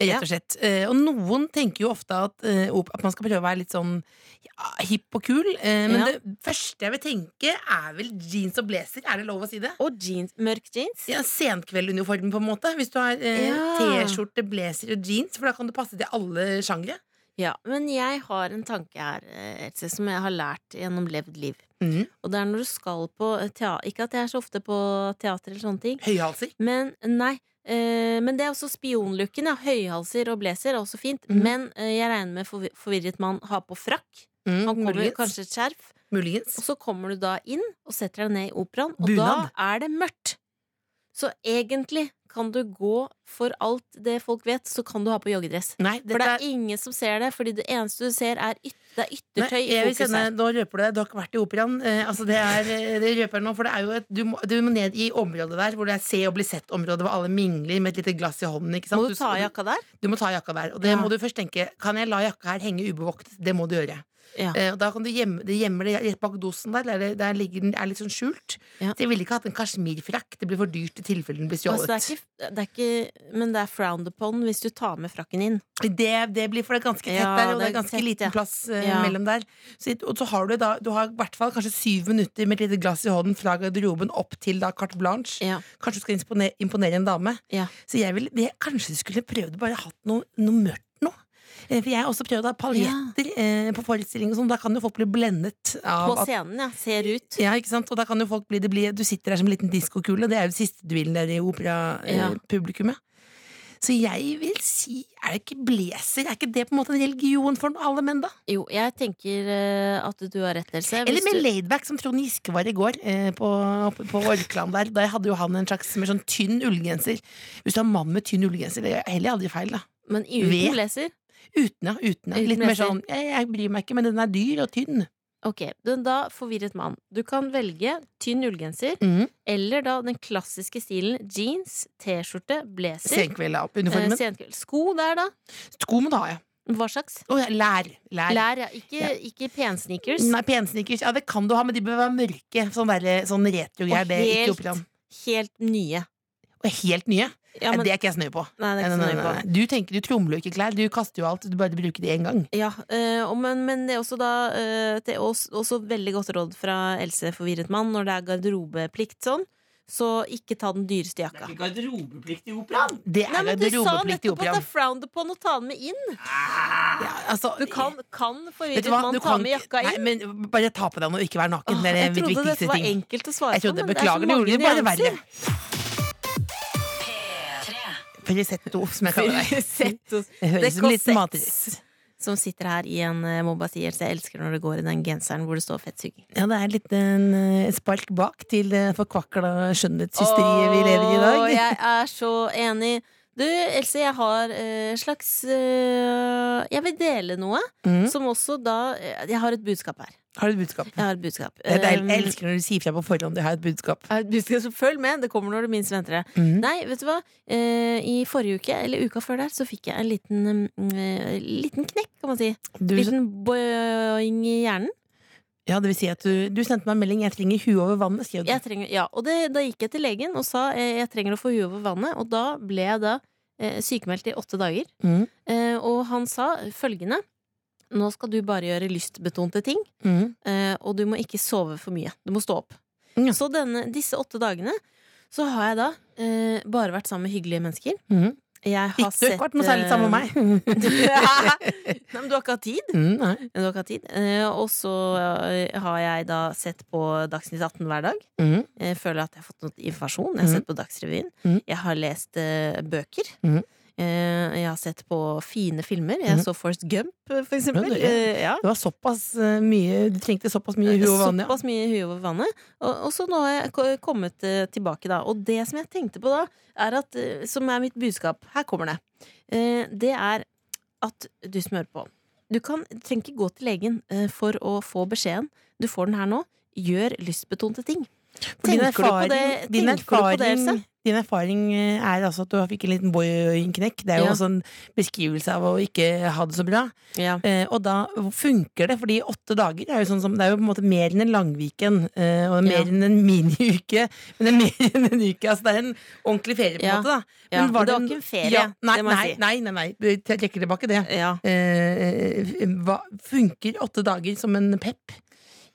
Speaker 4: eh,
Speaker 3: Ja.
Speaker 4: Rett og slett. Eh, og noen tenker jo ofte at, eh, op- at man skal prøve å være litt sånn ja, hipp og kul, eh, men
Speaker 3: Ja.
Speaker 4: det første jeg vil tenke, er vel jeans og blazer. Er det lov å si det?
Speaker 3: Og jeans, mørk jeans.
Speaker 4: ja, senkvelduniformen, på en måte. Hvis du har eh,
Speaker 3: Ja.
Speaker 4: T-skjorte, blazer og jeans, for da kan du passe til alle sjangre.
Speaker 3: Ja, Men jeg har en tanke her, eh, Else, som jeg har lært gjennom levd liv.
Speaker 4: Mhm.
Speaker 3: Og det er når du skal på teater Ikke at jeg er så ofte på teater eller sånne ting,
Speaker 4: Høyhalser.
Speaker 3: men nei. eh, men det er også spionlooken. Ja. Høyhalser og blazer er også fint.
Speaker 4: Mhm.
Speaker 3: Men eh, jeg regner med forvi- forvirret mann har på frakk.
Speaker 4: Mm,
Speaker 3: Han kommer
Speaker 4: muligens.
Speaker 3: kanskje et skjerf.
Speaker 4: muligens.
Speaker 3: Og så kommer du da inn og setter deg ned i operaen, og
Speaker 4: Bunad.
Speaker 3: da er det mørkt. Så egentlig kan du gå for alt det folk vet, så kan du ha på joggedress.
Speaker 4: Nei,
Speaker 3: For det
Speaker 4: dette
Speaker 3: er ingen som ser det, fordi det eneste du ser, er, yt det er
Speaker 4: Nei,
Speaker 3: yttertøy i
Speaker 4: jeg vil
Speaker 3: fokus
Speaker 4: kjenne,
Speaker 3: her.
Speaker 4: nå røper du deg. Du har ikke vært i operaen. Eh, altså det, er, eh, det røper jeg nå, for det er jo et, du, må, du må ned i området der hvor det er se og bli sett-området, hvor alle mingler med et lite glass i hånden. Ikke sant?
Speaker 3: Må du ta av jakka der?
Speaker 4: Du må ta jakka der. Og det
Speaker 3: Ja.
Speaker 4: må du først tenke Kan jeg la jakka her henge ubevoktet? Det må du gjøre.
Speaker 3: Ja.
Speaker 4: Eh, og da kan du gjemme det gjemmer det rett bak dosen der. Der, der ligger den er litt sånn skjult.
Speaker 3: Ja.
Speaker 4: Så jeg ville ikke hatt en kasjmirfrakk. Det blir for dyrt i tilfelle den blir
Speaker 3: Altså,
Speaker 4: stjålet.
Speaker 3: det er ikke, det er ikke, men det er frowned upon hvis du tar med frakken inn.
Speaker 4: det, det blir for det er ganske tett
Speaker 3: Ja,
Speaker 4: der, og det
Speaker 3: det
Speaker 4: er
Speaker 3: er
Speaker 4: ganske
Speaker 3: tett,
Speaker 4: liten
Speaker 3: ja.
Speaker 4: plass eh,
Speaker 3: Ja.
Speaker 4: mellom der. Så, og så har du da Du har i hvert fall kanskje syv minutter med et lite glass i hånden fra garderoben opp til da carte blanche.
Speaker 3: Ja.
Speaker 4: Kanskje du skal imponere, imponere en dame.
Speaker 3: Ja.
Speaker 4: Så jeg vil, jeg, kanskje du skulle prøvd å bare hatt noe, noe mørkt nå. Eh, For jeg har også prøvd å ha paljetter eh, på forestilling, og sånn. da kan jo folk bli blendet
Speaker 3: På
Speaker 4: av at
Speaker 3: scenen, ja. Ser ut.
Speaker 4: ja, ikke sant? Og da kan jo folk bli, det bli Du sitter der som en liten diskokule, det er jo siste duellen der i
Speaker 3: Ja.
Speaker 4: operapublikummet. Så jeg vil si Er det ikke blazer? Er ikke det på en måte en religion for alle menn, da?
Speaker 3: Jo, jeg tenker eh, at du har rett, Else.
Speaker 4: Eller
Speaker 3: Hvis
Speaker 4: med
Speaker 3: du-
Speaker 4: laidback, som Trond Giske var i går, eh, på, oppe på Orkland der. Da hadde jo han en slags mer sånn tynn ullgenser. Hvis du har mann med tynn ullgenser, det er heller aldri feil, da.
Speaker 3: Men uten
Speaker 4: Ved.
Speaker 3: blazer?
Speaker 4: Uten, ja. Uten, ja.
Speaker 3: Uten
Speaker 4: Litt mer
Speaker 3: blazer.
Speaker 4: sånn jeg, jeg bryr meg ikke, men den er dyr og tynn.
Speaker 3: Ok, den da forvirret mann. Du kan velge tynn ullgenser.
Speaker 4: Mm.
Speaker 3: Eller da den klassiske stilen jeans, T-skjorte, blazer.
Speaker 4: Senkveld av
Speaker 3: eh,
Speaker 4: uniformen.
Speaker 3: Senkveld. Sko der, da.
Speaker 4: Sko må du ha, ja.
Speaker 3: Hva slags?
Speaker 4: Å, ja. Lær. Lær.
Speaker 3: Lær, ja. Ikke,
Speaker 4: Ja.
Speaker 3: ikke pensneakers.
Speaker 4: Nei, pensnickers. Ja, det kan du ha, men de bør være mørke. Sånn, derre- sånn retro-greier.
Speaker 3: Og
Speaker 4: Det er ikke
Speaker 3: helt-
Speaker 4: operaen.
Speaker 3: Helt nye.
Speaker 4: Og helt nye.
Speaker 3: Ja, men,
Speaker 4: det er ikke jeg snø på.
Speaker 3: nei, det er
Speaker 4: Nei,
Speaker 3: ikke
Speaker 4: nei,
Speaker 3: så
Speaker 4: nei,
Speaker 3: nøye på.
Speaker 4: nei. Du tenker du tromler jo ikke klær. Du kaster jo alt. Du bare bruker det én gang.
Speaker 3: Ja, eh, og men, men det er også da eh, Det er også, også veldig godt råd fra Else Forvirret mann når det er garderobeplikt sånn. Så ikke ta den dyreste jakka.
Speaker 2: Garderobeplikt i operaen?
Speaker 4: Det er
Speaker 3: Nei, men Du sa
Speaker 4: garderobeplikt i
Speaker 3: nettopp at det
Speaker 4: operaen.
Speaker 3: er frowned upon å ta den med inn.
Speaker 4: Ja, altså,
Speaker 3: Du kan, kan
Speaker 4: vet
Speaker 3: forvirret
Speaker 4: du hva?
Speaker 3: mann
Speaker 4: Du
Speaker 3: ta
Speaker 4: kan
Speaker 3: med
Speaker 4: ikke-
Speaker 3: jakka inn.
Speaker 4: Nei, men bare ta på deg noe og ikke være naken.
Speaker 3: Åh,
Speaker 4: det er
Speaker 3: jeg
Speaker 4: mitt
Speaker 3: trodde
Speaker 4: viktigste
Speaker 3: dette var
Speaker 4: ting.
Speaker 3: enkelt å svare
Speaker 4: Jeg trodde,
Speaker 3: på. men det er så
Speaker 4: Beklager, det
Speaker 3: mange
Speaker 4: gjorde det bare
Speaker 3: nyanser.
Speaker 4: verre. Frisetto, som jeg kaller det.
Speaker 3: Sett oss.
Speaker 4: Det
Speaker 3: Det
Speaker 4: høres ut som en liten matrett.
Speaker 3: Kossets, som sitter her i en eh, må bare si, Else, jeg elsker når det går i den genseren hvor det står fettsuging.
Speaker 4: Ja, det er litt en eh, spark bak til det forkvakla skjønnhetshysteriet vi lever i i dag.
Speaker 3: Åh, jeg er så enig. Du, Else, jeg har eh, slags eh, Jeg vil dele noe
Speaker 4: Mm.
Speaker 3: som også da eh, Jeg har et budskap her.
Speaker 4: Har du et budskap?
Speaker 3: Jeg har et budskap.
Speaker 4: Det er deilig. Jeg
Speaker 3: Um,
Speaker 4: elsker når du sier fra på forhånd at jeg har et budskap.
Speaker 3: jeg har et budskap, så følg med, det kommer når du minst venter det.
Speaker 4: Mm.
Speaker 3: Nei, vet du hva? Eh, I forrige uke, eller uka før der, så fikk jeg en liten, mm, eh, liten knekk, kan man si.
Speaker 4: Du,
Speaker 3: Liten boing i hjernen.
Speaker 4: ja, det vil si at du, du sendte meg en melding 'Jeg trenger huet over vannet', skrev du.
Speaker 3: Jeg trenger, ja, og det, da gikk jeg til legen og sa eh, jeg trenger å få huet over vannet. Og da ble jeg da eh, sykemeldt i åtte dager.
Speaker 4: Mm.
Speaker 3: Eh, og han sa følgende Nå skal du bare gjøre lystbetonte ting,
Speaker 4: Mm.
Speaker 3: eh, og du må ikke sove for mye. Du må stå opp.
Speaker 4: Ja.
Speaker 3: Så denne, disse åtte dagene så har jeg da eh, bare vært sammen med hyggelige mennesker.
Speaker 4: Mm.
Speaker 3: Jeg har
Speaker 4: Ikke du
Speaker 3: sett, eh,
Speaker 4: ikke vært noe særlig sammen med meg.
Speaker 3: Nei, men du har ikke hatt tid.
Speaker 4: mm, nei.
Speaker 3: Du har ikke hatt tid. Eh, og så eh, har jeg da sett på Dagsnytt 18 hver dag.
Speaker 4: Mm.
Speaker 3: Jeg føler at jeg har fått noe informasjon. Jeg har sett på Dagsrevyen.
Speaker 4: Mm.
Speaker 3: Jeg har lest eh, bøker.
Speaker 4: Mm.
Speaker 3: Eh, jeg har sett på fine filmer. Jeg
Speaker 4: Mm.
Speaker 3: så Forrest Gump, eh, for eksempel.
Speaker 4: Ja, det er-
Speaker 3: Eh, ja.
Speaker 4: Det var såpass eh, mye Du trengte såpass mye huet over vannet.
Speaker 3: Såpass mye hue over vannet. Og, og så nå har jeg ko- kommet eh, tilbake, da. Og det som jeg tenkte på da, er at, eh, som er mitt budskap Her kommer det. Eh, Det er at du som hører på Du kan, du trenger ikke gå til legen eh, for å få beskjeden. Du får den her nå. Gjør lystbetonte ting.
Speaker 4: For din
Speaker 3: Tenker du på det?
Speaker 4: erfaring- Din
Speaker 3: Tenker du på det,
Speaker 4: erfaring,
Speaker 3: Else?
Speaker 4: din erfaring eh, er altså at du fikk en liten boing-knekk. Det er jo
Speaker 3: Ja.
Speaker 4: også en beskrivelse av å ikke ha det så bra.
Speaker 3: Ja.
Speaker 4: Eh, og da funker det, fordi åtte dager er jo sånn som Det er jo på en måte mer enn en langviken, eh, og mer
Speaker 3: Ja.
Speaker 4: enn en miniuke. Men det er mer enn en uke. Altså det er en ordentlig ferie, på en
Speaker 3: Ja.
Speaker 4: måte. da
Speaker 3: Ja, men det var
Speaker 4: en-
Speaker 3: ikke en ferie,
Speaker 4: nei,
Speaker 3: det må jeg
Speaker 4: nei,
Speaker 3: si.
Speaker 4: nei, nei, nei. Jeg trekker tilbake det.
Speaker 3: ja.
Speaker 4: Eh, hva, funker åtte dager som en pep?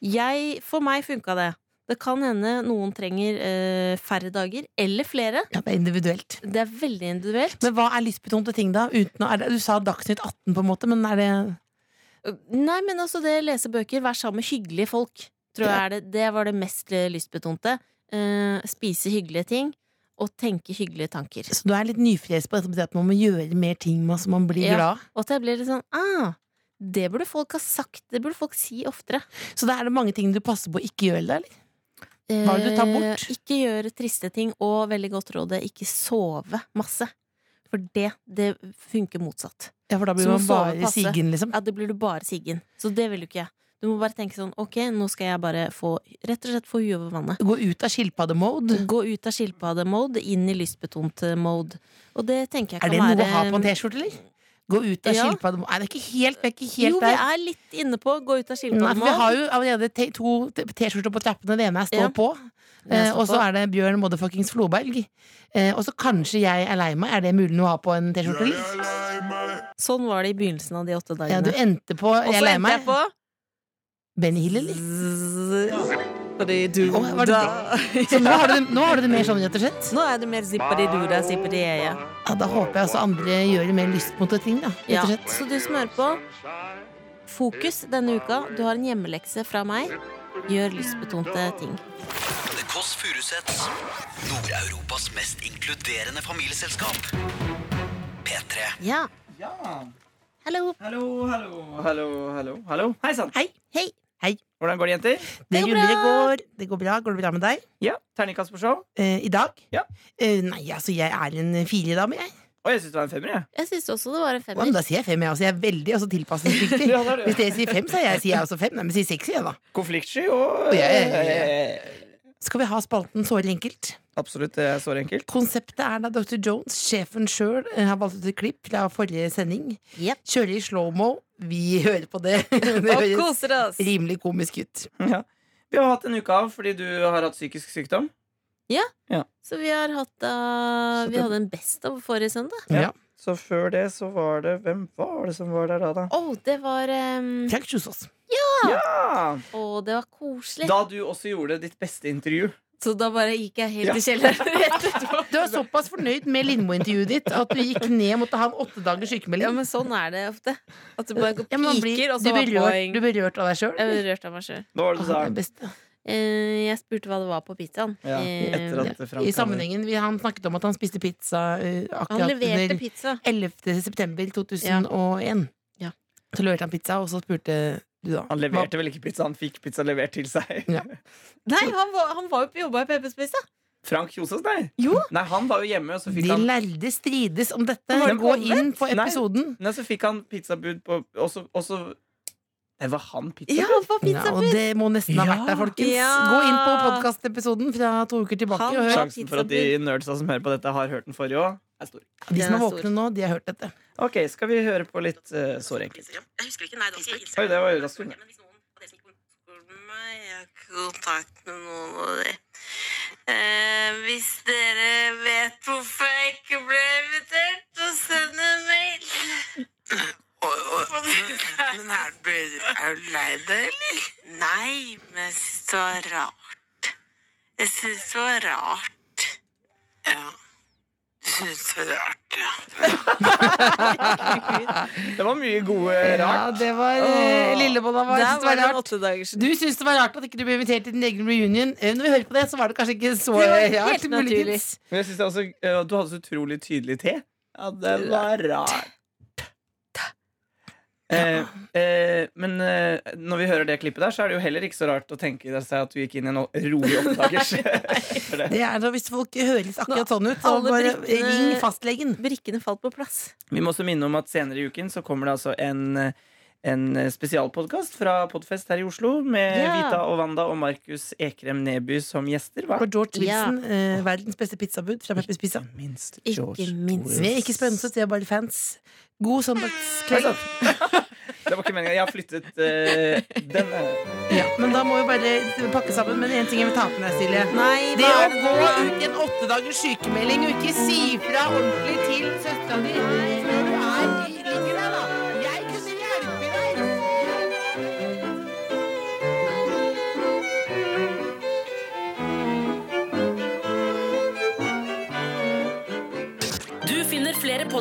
Speaker 3: Jeg, for meg funka det. Det kan hende noen trenger eh, færre dager, eller flere.
Speaker 4: Ja, det er individuelt.
Speaker 3: Det er veldig individuelt.
Speaker 4: Men hva er lystbetonte ting, da? Uten å, er det, du sa Dagsnytt 18, på en måte, men er det
Speaker 3: Nei, men altså det lese bøker, være sammen med hyggelige folk, tror jeg er det. Det var det mest eh, lystbetonte. Eh, spise hyggelige ting og tenke hyggelige tanker.
Speaker 4: Så du er litt nyfres på dette med at man må gjøre mer ting med, så man blir
Speaker 3: Ja.
Speaker 4: glad?
Speaker 3: Og at jeg ble litt sånn ah, det burde folk ha sagt. Det burde folk si oftere.
Speaker 4: Så da er det mange ting du passer på å ikke gjøre, da? Eller? Hva er det du tar bort?
Speaker 3: Eh, ikke gjøre triste ting, og veldig godt råd er ikke sove masse. For det, det funker motsatt.
Speaker 4: Ja, for da blir
Speaker 3: Så må
Speaker 4: man
Speaker 3: sove
Speaker 4: bare
Speaker 3: passe.
Speaker 4: sigen, liksom.
Speaker 3: Ja, det blir du bare siggen. Så det vil du ikke. Du må bare tenke sånn ok, nå skal jeg bare få rett og slett få huet over vannet.
Speaker 4: Gå ut av skilpaddemode.
Speaker 3: Gå ut av skilpadde-mode, inn i lystbetont eh, mode. Og det tenker jeg
Speaker 4: Er
Speaker 3: kan
Speaker 4: det
Speaker 3: være
Speaker 4: noe å ha på en T-skjorte, eller? Gå ut av
Speaker 3: Ja.
Speaker 4: skilpaddemode Nei, det er ikke helt, vi er ikke helt
Speaker 3: Jo, vi
Speaker 4: der.
Speaker 3: er litt inne på gå ut av
Speaker 4: Nei, for vi
Speaker 3: skilpadde-mode.
Speaker 4: har jo allerede te- to t- T-skjorter på trappene. Det ene er Stå
Speaker 3: Ja.
Speaker 4: på.
Speaker 3: er
Speaker 4: eh,
Speaker 3: Stå
Speaker 4: Og så
Speaker 3: på.
Speaker 4: er det Bjørn motherfuckings Floberg. Eh, Og så kanskje jeg er lei meg. Er det mulig å ha på en T-skjorte? eller?
Speaker 3: Sånn var det i begynnelsen av de åtte
Speaker 4: Ja, du
Speaker 3: dagene.
Speaker 4: endte på
Speaker 3: og
Speaker 4: Jeg er
Speaker 3: så
Speaker 4: lei
Speaker 3: endte jeg
Speaker 4: meg.
Speaker 3: på
Speaker 4: Benny Hill, eller?
Speaker 3: Zippity-doo-da.
Speaker 4: Å, var det Så nå har, du, det- nå har du det mer sånn, rett og slett?
Speaker 3: Nå er det mer zippity-doo-da, zippity-yeah.
Speaker 4: Ja, da håper jeg også andre gjør mer lystmotte ting, da. Rett
Speaker 3: Ja,
Speaker 4: og slett.
Speaker 3: så du som hører på, fokus denne uka. Du har en hjemmelekse fra meg. Gjør lystbetonte ting.
Speaker 7: The Kåss Furuseths. Nord-Europas mest inkluderende familieselskap. P3.
Speaker 3: Ja. Hallo.
Speaker 2: Hallo, hallo, hallo. hallo, hallo. Hei sann.
Speaker 4: Hei.
Speaker 3: Hei.
Speaker 2: Hvordan går det, jenter?
Speaker 4: Det
Speaker 3: går
Speaker 4: ruller, det
Speaker 3: bra.
Speaker 4: går. Det går bra. Går det bra med deg?
Speaker 2: Ja, Terningkast på show.
Speaker 4: Eh, I dag?
Speaker 2: Ja.
Speaker 4: Eh, nei, altså, jeg er en firedame, jeg.
Speaker 2: Og jeg syns det var en femmer. jeg
Speaker 3: Jeg syns også det var en
Speaker 4: Ja, men
Speaker 3: femmer.
Speaker 4: da sier jeg fem, jeg også. Jeg er veldig også tilpasningsdyktig.
Speaker 2: Ja, det er det.
Speaker 4: Hvis dere sier fem, så er jeg, sier jeg også fem. Nei, men si seks, jeg, da.
Speaker 2: Konfliktsky og eh,
Speaker 4: Ja, ja, ja, Skal vi ha spalten såre enkelt?
Speaker 2: Absolutt det er så enkelt.
Speaker 4: Konseptet er da Dr. Jones, sjefen sjøl, eh, har valgt ut et klipp fra forrige sending.
Speaker 3: Yep.
Speaker 4: Kjører i slow-mo. Vi hører på det. Det
Speaker 3: Og
Speaker 4: høres
Speaker 3: koser oss.
Speaker 4: rimelig komisk ut.
Speaker 2: Vi har hatt en uke av fordi du har hatt psykisk sykdom.
Speaker 3: Så vi har hatt eh, Vi hadde en Best of forrige søndag.
Speaker 2: Ja.
Speaker 4: Ja.
Speaker 2: Så før det så var det Hvem var det som var der da, da?
Speaker 3: Å, det var um,
Speaker 4: Frank Kjosås.
Speaker 2: Ja!
Speaker 3: det var koselig.
Speaker 2: Da du også gjorde ditt beste intervju.
Speaker 3: Så da bare gikk jeg helt i kjelleren rett etterpå.
Speaker 4: Du var såpass fornøyd med Lindmo-intervjuet ditt at du gikk ned og måtte ha en åtte dagers
Speaker 3: Ja,
Speaker 4: sykemelding.
Speaker 3: men sånn er det ofte. At det bare går
Speaker 4: Ja, men man blir-
Speaker 3: piker, og
Speaker 4: du
Speaker 3: så var
Speaker 4: blir rørt,
Speaker 3: poeng.
Speaker 4: du
Speaker 3: Jeg
Speaker 4: blir rørt av deg sjøl.
Speaker 3: ble rørt av meg sjøl.
Speaker 2: Hva var det du sa?
Speaker 4: beste.
Speaker 3: Eh, jeg spurte hva det var på pizzaen.
Speaker 2: Ja,
Speaker 3: Eh,
Speaker 2: etter at Frank
Speaker 4: I sammenhengen, vi, Han snakket om at han spiste pizza eh,
Speaker 3: Han
Speaker 4: akkurat
Speaker 3: leverte
Speaker 4: under
Speaker 3: pizza.
Speaker 4: 11. september 2001.
Speaker 3: Ja.
Speaker 4: Så leverte han pizza, og så spurte du, da.
Speaker 2: Han leverte vel ikke pizza, han fikk pizza levert til seg.
Speaker 4: Ja.
Speaker 3: Nei, han var, han var jo på jobba i Peppers Pizza!
Speaker 2: Frank Kjosås, nei.
Speaker 3: Jo.
Speaker 2: Nei, han var jo hjemme, og så
Speaker 4: Hva-
Speaker 2: fikk
Speaker 4: De
Speaker 2: han
Speaker 4: lærde strides om dette.
Speaker 2: Var det
Speaker 4: Gå
Speaker 2: omvendt?
Speaker 4: inn på
Speaker 2: Nei.
Speaker 4: episoden.
Speaker 2: Nei, så fikk han pizzabud på Og så, og så Nei, var han
Speaker 3: Ja,
Speaker 2: pizzabud?
Speaker 3: han var
Speaker 4: Ja, og
Speaker 3: pizzabud!
Speaker 4: det må nesten ha vært der, folkens.
Speaker 3: Ja.
Speaker 4: Gå inn på podkastepisoden fra to uker tilbake.
Speaker 3: Han-
Speaker 4: Og hør.
Speaker 2: Sjansen for at de nerdsa som hører på dette, har hørt den forrige òg, er stor.
Speaker 4: De som
Speaker 3: Den
Speaker 4: er
Speaker 3: er stor.
Speaker 4: våkne nå, de har hørt dette.
Speaker 2: Ok, skal vi høre på litt uh, såre enkelt.
Speaker 1: Jeg husker ikke, nei, det var ikke
Speaker 2: Oi, det var jo raskt unna.
Speaker 1: Men hvis noen av dere som ikke kontakter meg, jeg har ikke kontakt med noen av dere. Eh, hvis dere vet hvorfor jeg ikke ble invitert, så send en mail. Men er du, er du lei deg, eller? Nei, men jeg syns det var rart. Jeg syns det var rart. Ja. Du syns det var rart, ja.
Speaker 2: Det var mye gode
Speaker 4: Ja,
Speaker 2: rart.
Speaker 4: det var uh,
Speaker 2: Åh.
Speaker 4: Lillebolla var,
Speaker 3: Der
Speaker 4: synes det var
Speaker 3: var det en
Speaker 4: rart.
Speaker 3: åttedagers
Speaker 4: Du syns det var rart at ikke du ble invitert til din egen reunion. Eh, Når vi hører på det, så var det kanskje ikke så
Speaker 3: Det var
Speaker 4: eh,
Speaker 3: helt
Speaker 4: rart.
Speaker 3: naturlig.
Speaker 4: muligens.
Speaker 2: Men jeg synes det også, eh, Du hadde så utrolig tydelig T. Ja, det var rart. Eh, eh, men eh, når vi hører det klippet der, så er det jo heller ikke så rart å tenke seg at du gikk inn i en rolig oppdagers. For det.
Speaker 4: Det er da Hvis folk høres akkurat sånn ut, så
Speaker 3: Alle
Speaker 4: bare
Speaker 3: brikkene-
Speaker 4: ring fastlegen.
Speaker 3: Brikkene falt på plass.
Speaker 2: Vi må også minne om at senere i uken så kommer det altså en en spesialpodkast fra Podfest her i Oslo med
Speaker 3: Ja.
Speaker 2: Vita og Wanda og Markus Ekrem Neby som gjester. Hva?
Speaker 4: For George
Speaker 3: Ja.
Speaker 4: Wilson, eh, verdens beste pizzabud fra Peppers Pizza.
Speaker 2: Minst
Speaker 3: Ikke
Speaker 2: George
Speaker 3: minst.
Speaker 2: Orwell.
Speaker 4: Vi er ikke sponset, vi er bare fans. God søndagskveld.
Speaker 2: Det var ikke meninga. Jeg har flyttet eh, denne.
Speaker 4: Ja, men da må vi bare pakke sammen. Men én ting jeg vil ta på meg, Silje.
Speaker 3: Nei,
Speaker 4: Det å
Speaker 3: hva er
Speaker 4: gå ut en åtte dagers sykemelding og ikke si fra ordentlig til søstera di når du er ligger der, da. Jeg kunne hjelpe deg.
Speaker 1: Du finner flere